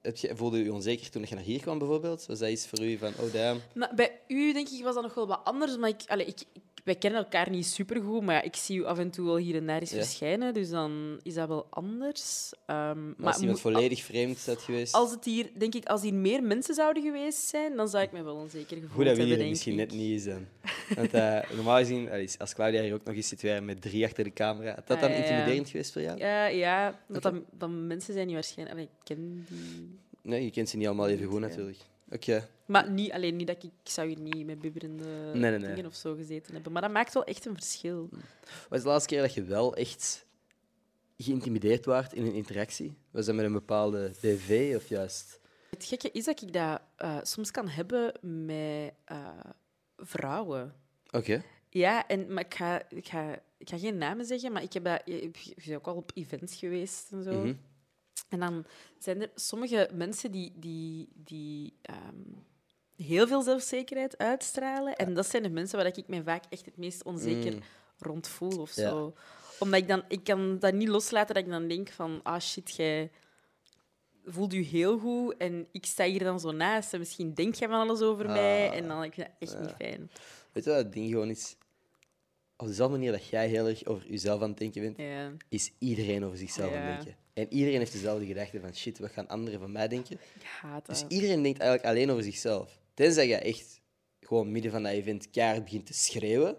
S1: heb jij- voelde je je onzeker toen je naar hier kwam, bijvoorbeeld? Was dat iets voor u van, oh damn?
S2: Maar bij u, denk ik, was dat nog wel wat anders. Maar ik, allee, ik, ik- wij kennen elkaar niet supergoed, maar ja, ik zie u af en toe wel hier en daar eens
S1: Ja.
S2: verschijnen. Dus dan is dat wel anders. Ehm,
S1: Maar als iemand
S2: moe-
S1: volledig vreemd had geweest?
S2: Als het hier, denk ik, als hier meer mensen zouden geweest zijn, dan zou ik me wel onzeker gevoeld
S1: Goed dat we
S2: hebben,
S1: hier
S2: denk
S1: misschien
S2: ik.
S1: net niet zijn. Want eh, normaal gezien, allee, als Claudia hier ook nog eens zit, wij met drie achter de camera. Had dat
S2: Ah,
S1: dan
S2: ja, ja.
S1: intimiderend geweest voor jou?
S2: Ja, ja want
S1: Oké.
S2: dan, dan mensen zijn niet waarschijnlijk... Allee, ik ken die...
S1: Nee, je kent ze niet allemaal even goed,
S2: Ja.
S1: natuurlijk. Oké.
S2: Maar niet, alleen niet dat ik, ik zou hier niet met bibberende
S1: Nee, nee, nee.
S2: dingen of zo gezeten hebben. Maar dat maakt wel echt een verschil.
S1: Wat is de laatste keer dat je wel echt geïntimideerd werd in een interactie? Was dat met een bepaalde BV of juist?
S2: Het gekke is dat ik dat eh, soms kan hebben met eh, vrouwen.
S1: Oké.
S2: Ja, en, maar ik ga, ik, ga, ik ga geen namen zeggen, maar ik heb dat, je je bent ook al op events geweest en zo.
S1: Mhm.
S2: En dan zijn er sommige mensen die, die, die ehm, heel veel zelfzekerheid uitstralen. En dat zijn de mensen waar ik me vaak echt het meest onzeker
S1: Mm.
S2: rond voel of
S1: Ja.
S2: zo. Omdat ik dan, ik kan dat niet loslaten dat ik dan denk van, ah shit, jij voelt u heel goed en ik sta hier dan zo naast en misschien denk jij van alles over
S1: Ah.
S2: mij en dan ik vind dat echt niet fijn.
S1: Weet je wat het ding gewoon is? Op dezelfde manier dat jij heel erg over jezelf aan het denken bent,
S2: Ja.
S1: is iedereen over zichzelf aan het
S2: Ja.
S1: denken. En iedereen heeft dezelfde gedachte van shit, wat gaan anderen van mij denken?
S2: Ik haat dat.
S1: Dus iedereen denkt eigenlijk alleen over zichzelf. Tenzij je echt gewoon midden van dat event keihard begint te schreeuwen,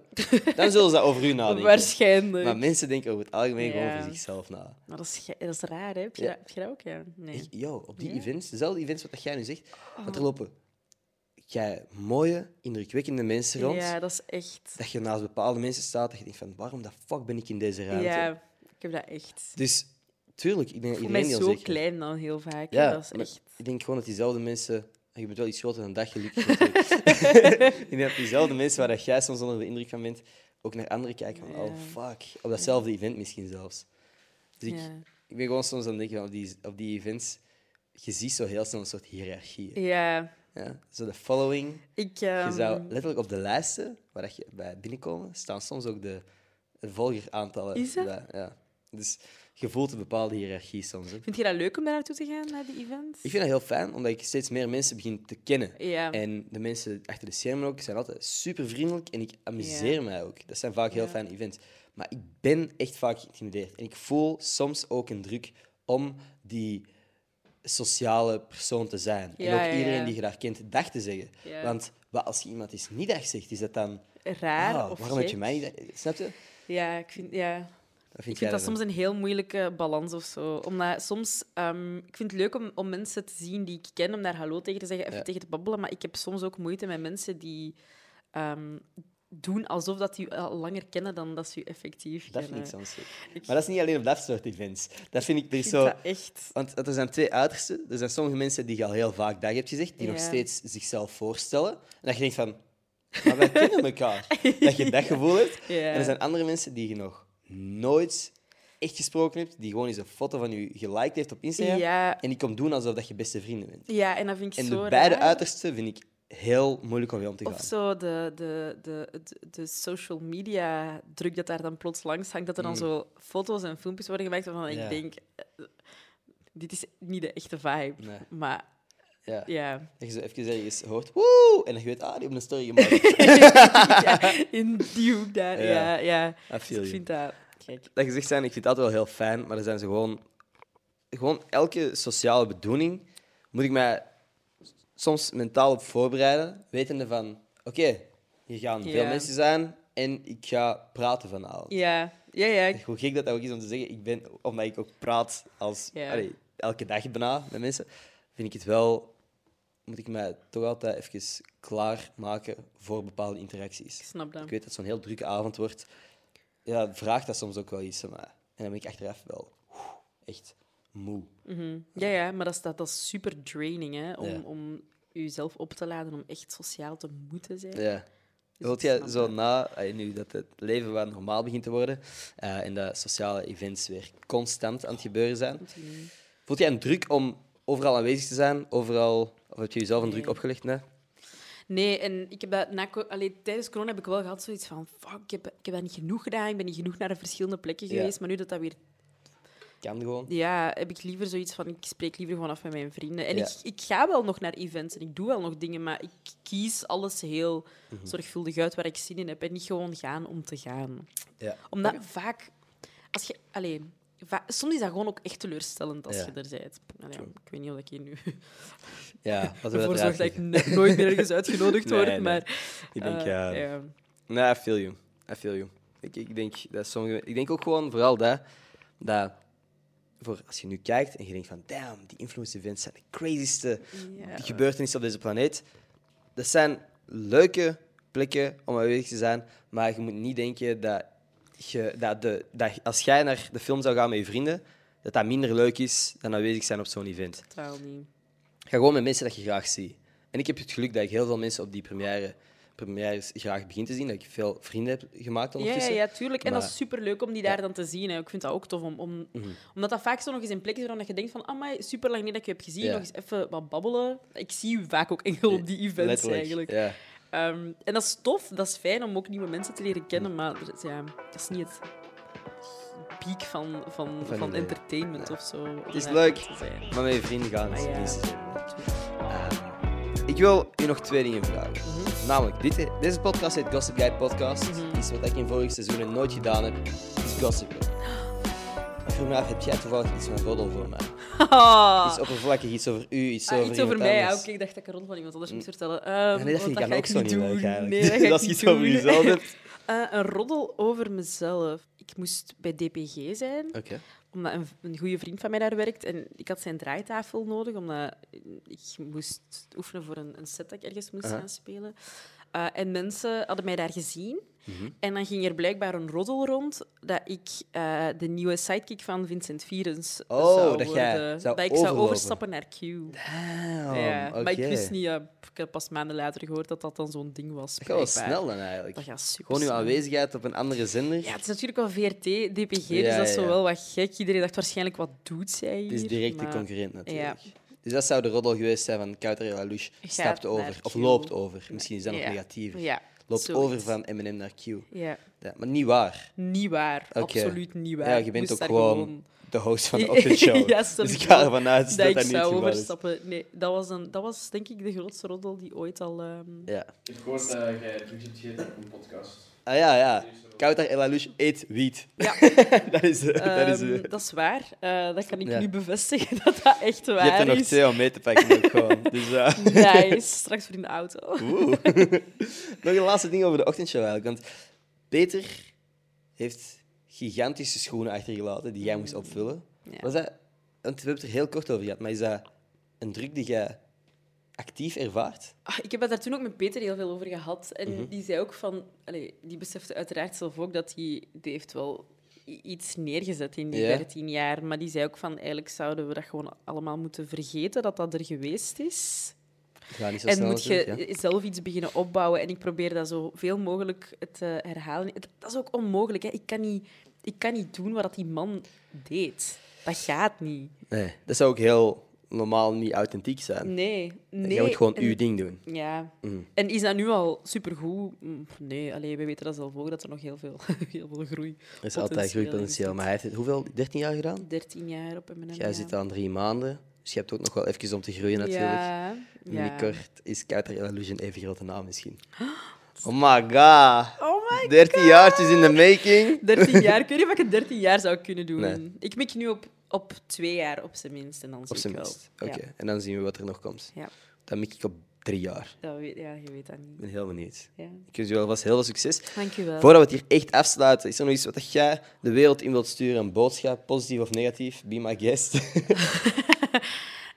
S1: dan zullen ze over u nadenken.
S2: Waarschijnlijk.
S1: Maar mensen denken over het algemeen gewoon
S2: Ja.
S1: over zichzelf na.
S2: Maar dat is, ge- dat is raar, hè? Heb je,
S1: Ja.
S2: dat, heb je dat ook? Ja. Nee.
S1: Ik, yo, op die events, dezelfde events wat dat jij nu zegt,
S2: Oh.
S1: want er lopen jij mooie, indrukwekkende mensen rond.
S2: Ja, dat is echt...
S1: Dat je naast bepaalde mensen staat, dat je denkt van waarom de fuck ben ik in deze ruimte?
S2: Ja, ik heb dat echt.
S1: Dus tuurlijk, ik denk
S2: Ik voel
S1: iedereen
S2: mij
S1: die
S2: zo
S1: onzeker is.
S2: klein dan heel vaak. hè.
S1: Ja,
S2: dat is
S1: maar
S2: echt...
S1: ik denk gewoon dat diezelfde mensen... Ah, Je bent wel iets groter dan dat, gelukkig. natuurlijk. ik denk dat diezelfde mensen waar dat jij soms onder de indruk van bent, ook naar anderen kijken van,
S2: Ja.
S1: oh fuck, op datzelfde event misschien zelfs. Dus ik,
S2: Ja.
S1: ik ben gewoon soms aan het denken van, op die, op die events, je ziet zo heel snel een soort hiërarchie.
S2: Ja,
S1: Ja? Zo de following,
S2: ik... ehm,
S1: je zou letterlijk op de lijsten waar dat je bij binnenkomen, staan soms ook de, de volgeraantallen.
S2: Is dat?
S1: bij, Ja. Dus je voelt een bepaalde hiërarchie soms. Hè.
S2: Vind je dat leuk om daar naartoe te gaan, naar die events?
S1: Ik vind dat heel fijn, omdat ik steeds meer mensen begin te kennen.
S2: Ja.
S1: En de mensen achter de schermen ook zijn altijd super vriendelijk en ik amuseer
S2: Ja.
S1: mij ook. Dat zijn vaak heel fijne events. Maar ik ben echt vaak geïntimideerd. En ik voel soms ook een druk om die sociale persoon te zijn. en
S2: Ja,
S1: ook
S2: ja,
S1: iedereen
S2: ja.
S1: die je daar kent, dag te zeggen.
S2: Ja.
S1: Want wat als je iemand eens niet dag zegt, is dat dan...
S2: Raar
S1: "Ah,
S2: of
S1: waarom heb je
S2: gek?"
S1: mij niet dag- Snap je?
S2: Ja, ik vind... Ja.
S1: Dat
S2: Ik vind dat soms een heel moeilijke balans of zo. Omdat soms, ehm, ik vind het leuk om, om mensen te zien die ik ken, om daar hallo tegen te zeggen, even
S1: Ja.
S2: tegen te babbelen. Maar ik heb soms ook moeite met mensen die ehm, doen alsof dat die u al langer kennen dan dat ze u effectief
S1: Dat vind
S2: kennen.
S1: ik soms gek. Maar dat is niet alleen op dat soort events. Dat vind ik, er
S2: Ik
S1: is
S2: vind
S1: zo...
S2: dat echt...
S1: Want er zijn twee uitersten. Er zijn sommige mensen die je al heel vaak dag hebt gezegd, die nog
S2: Ja.
S1: steeds zichzelf voorstellen. En dat je denkt van, maar wij kennen elkaar. Dat je dat gevoel hebt.
S2: Ja.
S1: En er zijn andere mensen die je nog nooit echt gesproken hebt, die gewoon eens een foto van je geliked heeft op Instagram.
S2: Ja.
S1: En die komt doen alsof dat je beste vrienden bent.
S2: Ja, en dat vind ik
S1: En
S2: zo
S1: de beide
S2: raar.
S1: uitersten vind ik heel moeilijk om mee om te gaan.
S2: Of zo de, de, de, de, de social media druk dat daar dan plots langs hangt, dat er dan zo foto's en filmpjes worden gemaakt waarvan
S1: Mm. Ja.
S2: ik denk, eh, dit is niet de echte vibe.
S1: Nee.
S2: Maar
S1: Ja.
S2: ja,
S1: Dat je zo even ergens hoort, woe! En dan je weet, ah, die hebben een story gemaakt.
S2: ja in die hoek daar.
S1: Ja.
S2: Ja, ja.
S1: I
S2: Dus
S1: feel
S2: ik
S1: you.
S2: vind dat gek.
S1: dat gezegd zijn, ik vind dat wel heel fijn, maar er zijn ze gewoon... Gewoon elke sociale bedoeling moet ik mij soms mentaal op voorbereiden, wetende van, oké, hier gaan
S2: Ja.
S1: veel mensen zijn en ik ga praten vanavond.
S2: Ja, ja, ja. ik-
S1: Hoe gek dat, dat ook is om te zeggen, ik ben, omdat ik ook praat als,
S2: Ja.
S1: allee, elke dag bijna met mensen, vind ik het wel... Moet ik mij toch altijd even klaarmaken voor bepaalde interacties.
S2: Ik snap dat.
S1: Ik weet dat het zo'n heel drukke avond wordt. Ja, vraagt dat soms ook wel iets aan mij. En dan ben ik achteraf wel oeh, echt moe.
S2: Ja, ja, maar dat is, dat, dat is super draining, hè, om,
S1: Ja.
S2: om jezelf op te laden, om echt sociaal te moeten zijn.
S1: Ja.
S2: Dus
S1: Wilt
S2: ik
S1: jij
S2: snap
S1: zo
S2: dat.
S1: na, eh, nu dat het leven wat normaal begint te worden eh, en dat sociale events weer constant aan het gebeuren zijn, voelt jij een druk om overal aanwezig te zijn? Overal, of heb je jezelf een druk
S2: Nee.
S1: opgelegd? Nee?
S2: Nee, en ik heb dat na, co- allee, tijdens corona heb ik wel gehad zoiets van... Fuck, ik heb, ik heb dat niet genoeg gedaan. Ik ben niet genoeg naar de verschillende plekken
S1: Ja.
S2: geweest. Maar nu dat dat weer...
S1: Kan gewoon.
S2: Ja, heb ik liever zoiets van... Ik spreek liever gewoon af met mijn vrienden. En
S1: Ja.
S2: ik, ik ga wel nog naar events en ik doe wel nog dingen. Maar ik kies alles heel
S1: Mhm.
S2: zorgvuldig uit waar ik zin in heb. En niet gewoon gaan om te gaan.
S1: Ja.
S2: Omdat vaak... Als je, allee, va- soms is dat gewoon ook echt teleurstellend als
S1: Ja.
S2: je er bent. Allee, ik weet niet of ik hier nu
S1: Ja, wat we
S2: ervoor
S1: uiteraard
S2: zorg dat ik
S1: zeggen.
S2: net nooit meer ergens uitgenodigd
S1: Nee,
S2: word.
S1: nee.
S2: Maar,
S1: Ik denk,
S2: eh,
S1: ja,
S2: ja.
S1: Nee, I feel you. I feel you. Ik, ik, denk dat sommige, ik denk ook gewoon vooral dat, dat voor als je nu kijkt en je denkt van damn, die influencer events zijn de crazyste
S2: Ja.
S1: gebeurtenissen op deze planeet. Dat zijn leuke plekken om aanwezig te zijn, maar je moet niet denken dat, je, dat, de, dat als jij naar de film zou gaan met je vrienden, dat dat minder leuk is dan aanwezig zijn op zo'n event.
S2: Totaal niet.
S1: Ga gewoon met mensen dat je graag ziet. En ik heb het geluk dat ik heel veel mensen op die première, premières graag begin te zien. Dat ik veel vrienden heb gemaakt
S2: Ja, ja,
S1: ondertussen.
S2: ja, tuurlijk. En dat
S1: Maar- Mhm.
S2: is superleuk om die daar dan te zien. Hè. Ik vind dat ook tof. Om, om, Omdat dat vaak zo nog eens in plekken is waar je denkt van... Amai, super lang niet dat ik je heb gezien.
S1: Ja.
S2: Nog eens even wat babbelen. Ik zie u vaak ook enkel op die events
S1: Letterlijk,
S2: eigenlijk.
S1: Ja.
S2: Ehm, en dat is tof. Dat is fijn om ook nieuwe mensen te leren kennen. Maar er is- ja, dat is niet het piek van, van, van,
S1: Van de-
S2: entertainment of zo. om
S1: is
S2: daar
S1: leuk.
S2: te zijn.
S1: Maar met je vrienden gaan is
S2: Maar Ah,
S1: het
S2: ja,
S1: minste.
S2: natuurlijk.
S1: Ehm, ik wil je nog twee dingen vragen.
S2: Mhm.
S1: Namelijk, dit, deze podcast heet Gossip Guy Podcast. Iets wat ik in vorige seizoenen nooit gedaan heb, is gossipen. Ik vroeg me af, heb jij toevallig iets van roddel voor mij?
S2: Ah.
S1: Iets oppervlakkig, iets over u, iets
S2: Ah,
S1: over
S2: iets over
S1: iemand
S2: mij.
S1: anders. Mm.
S2: ja, oké, ik dacht dat ik een rol van iemand anders moest vertellen. Ehm,
S1: Ja, nee, dat
S2: want
S1: vind ik
S2: ga
S1: dan ook zo
S2: niet
S1: niet
S2: doen.
S1: leuk eigenlijk.
S2: Nee, dat ga
S1: als je
S2: ik niet
S1: iets over
S2: doen.
S1: jezelf hebt.
S2: Eh, een roddel over mezelf. Ik moest bij DPG zijn,
S1: Oké.
S2: omdat een, een goede vriend van mij daar werkt. En ik had zijn draaitafel nodig, omdat ik moest oefenen voor een, een set dat ik ergens moest
S1: Aha.
S2: gaan spelen. Eh, en mensen hadden mij daar gezien.
S1: Mhm.
S2: En dan ging er blijkbaar een roddel rond dat ik eh, de nieuwe sidekick van Vincent Vierens
S1: Oh,
S2: zou
S1: dat
S2: worden.
S1: jij zou
S2: dat ik zou
S1: overlopen.
S2: overstappen naar Q.
S1: Damn,
S2: ja. Maar ik
S1: oké.
S2: wist niet, ja, ik heb pas maanden later gehoord dat dat dan zo'n ding was.
S1: Dat gaat wel
S2: blijkbaar.
S1: snel dan eigenlijk.
S2: Dat gaat super
S1: Gewoon uw
S2: snel.
S1: aanwezigheid op een andere zender.
S2: Ja, het is natuurlijk wel VRT, DPG,
S1: Ja,
S2: dus dat is
S1: ja, ja.
S2: zo wel wat gek. Iedereen dacht waarschijnlijk, wat doet zij hier?
S1: het is direct
S2: maar-
S1: de concurrent natuurlijk. Dus dat zou de roddel geweest zijn van Kouter Elalouche stapt over of loopt over. Misschien is dat nog
S2: Ja.
S1: negatiever.
S2: Ja,
S1: loopt
S2: Zoiets.
S1: over van Eminem naar Q.
S2: Ja.
S1: Ja, maar niet waar.
S2: Niet waar.
S1: Oké.
S2: Absoluut niet waar.
S1: Ja, je bent
S2: Moest
S1: ook
S2: daar
S1: gewoon, de host van de Open Show.
S2: Ja,
S1: dus ik
S2: sowieso.
S1: ga ervan uit dat
S2: dat,
S1: dat,
S2: ik
S1: niet het
S2: zou
S1: geval is.
S2: overstappen. Nee, dat was, een, dat was denk ik de grootste roddel die ooit al... ehm,
S1: Ja.
S4: Ik hoor dat jij drugs hebt gegeten op een podcast.
S1: Ah ja, ja. Kouter El Alouche eet wiet.
S2: Ja.
S1: dat is... eh, dat is eh,
S2: Ehm, dat is waar. Eh, dat kan ik
S1: Ja.
S2: nu bevestigen dat dat echt
S1: je hebt
S2: waar
S1: er nog
S2: is.
S1: twee om mee te pakken ook gewoon. Dus, eh,
S2: Nice. Straks voor in de auto.
S1: Oeh. Nog een laatste ding over de ochtendshow eigenlijk. Want Peter heeft gigantische schoenen achtergelaten die jij moest opvullen.
S2: Ja.
S1: Was dat, want we hebben het er heel kort over gehad, maar is dat een druk die jij actief ervaart?
S2: Ah, ik heb het daar toen ook met Peter heel veel over gehad. En
S1: Mhm.
S2: die zei ook van... allee, die besefte uiteraard zelf ook dat hij... Die heeft wel i- iets neergezet in die
S1: Ja.
S2: 13 jaar. Maar die zei ook van... Eigenlijk zouden we dat gewoon allemaal moeten vergeten dat dat er geweest is.
S1: Ga niet zo
S2: En
S1: snel
S2: moet je
S1: natuurlijk, ja.
S2: zelf iets beginnen opbouwen. En ik probeer dat zoveel mogelijk te herhalen. Het- Dat is ook onmogelijk. Hè. Ik, kan niet, ik kan niet doen wat dat die man deed. Dat gaat niet.
S1: Nee, dat zou ook heel normaal niet authentiek zijn.
S2: Nee. nee.
S1: jij moet gewoon
S2: En-
S1: uw ding doen.
S2: Ja.
S1: Mm.
S2: En is dat nu al supergoed? Mm, Nee, alleen we weten dat zelf ook, dat er nog heel veel, heel veel groei
S1: Er is altijd groeipotentieel. Maar hij heeft het hoeveel, 13 jaar gedaan?
S2: 13 jaar op M&M.
S1: Jij zit aan drie maanden, dus je hebt ook nog wel even om te groeien natuurlijk.
S2: Ja. ja.
S1: Binnenkort is Kouter Illusion even grote naam misschien. Oh my god.
S2: Oh my
S1: 13 jaartjes in de making.
S2: 13 jaar. Ik weet niet of ik het 13 jaar zou kunnen doen.
S1: Nee.
S2: Ik mik nu op, op twee jaar op zijn minst. En dan zie
S1: Op zijn
S2: ik wel.
S1: minst. Oké,
S2: Ja.
S1: en dan zien we wat er nog komt.
S2: Ja.
S1: Dan mik ik op drie jaar.
S2: Dat weet, ja, je weet dat
S1: Ik
S2: niet.
S1: ben heel benieuwd.
S2: Ja.
S1: Ik wens jullie alvast heel veel succes.
S2: Dank je wel.
S1: Voordat we het hier echt afsluiten, is er nog iets wat dat jij de wereld in wilt sturen? Een boodschap, positief of negatief? Be my guest.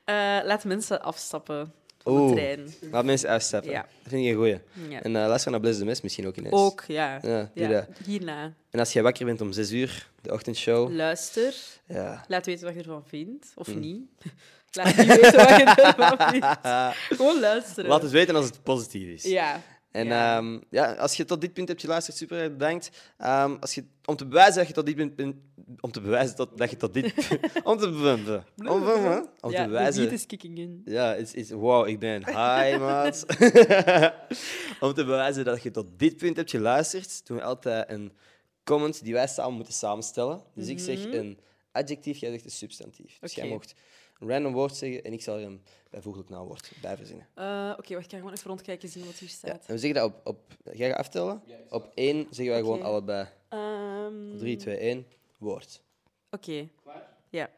S2: Eh, laat mensen afstappen van de trein.
S1: laat mensen afstappen.
S2: Ja.
S1: Dat vind ik een goeie.
S2: Ja.
S1: En eh luister naar Bless de Mes misschien ook ineens.
S2: Ook, ja.
S1: Ja, doe dat.
S2: Hierna.
S1: En als jij wakker bent om 6 uur, de ochtendshow.
S2: Luister.
S1: Ja.
S2: Laat weten wat je ervan vindt, of
S1: Hmm.
S2: niet. Laat niet weten wat je ervan vindt. Gewoon luisteren.
S1: Laat het weten als het positief is.
S2: Ja.
S1: En
S2: Ja.
S1: ja. ja, als je tot dit punt hebt geluisterd, super erg bedankt. Ehm, als je, om te bewijzen dat je tot dit punt... punt- Om te bewijzen dat, dat je tot dit... om te... bewijzen- Om, te- om
S2: ja,
S1: te
S2: De beat
S1: bewijzen...
S2: is kicking in.
S1: Ja, is, is, wow, ik ben high, maat. om te bewijzen dat je tot dit punt hebt geluisterd, doen we altijd een comment die wij samen moeten samenstellen. Dus ik zeg een adjectief, jij zegt een substantief. Dus jij
S2: Mhm. Oké.
S1: mocht een random woord zeggen en ik zal er een bijvoeglijk naamwoord bij verzinnen.
S2: Eh, Oké, wacht, ik ga gewoon even rondkijken zien wat hier
S1: Ja,
S2: staat.
S1: en we zeggen dat op, op... Jij gaat aftellen. op één zeggen wij gewoon
S2: Oké.
S1: allebei.
S2: Ehm,
S1: Op drie, twee, één. Woord.
S2: Oké. Ja.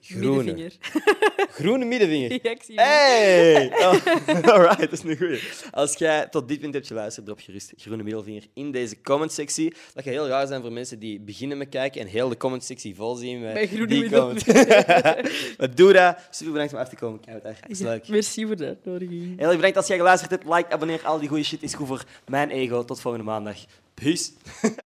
S1: Groene.
S2: Middenvinger.
S1: Groene middenvinger.
S2: ja, ik zie hem.
S1: Hey! Oh, alright, dat is een goeie. Als jij tot dit punt hebt geluisterd, drop gerust groene middelvinger in deze commentsectie. Dat kan heel raar zijn voor mensen die beginnen met kijken en heel de commentsectie vol zien met
S2: Bij groene
S1: die comment. maar doe dat. Super bedankt om af te komen. Kijk, het is leuk.
S2: Merci voor de uitnodiging.
S1: Heel erg bedankt als jij geluisterd hebt. Like, abonneer, al die goede shit is goed voor mijn ego. Tot volgende maandag. Peace.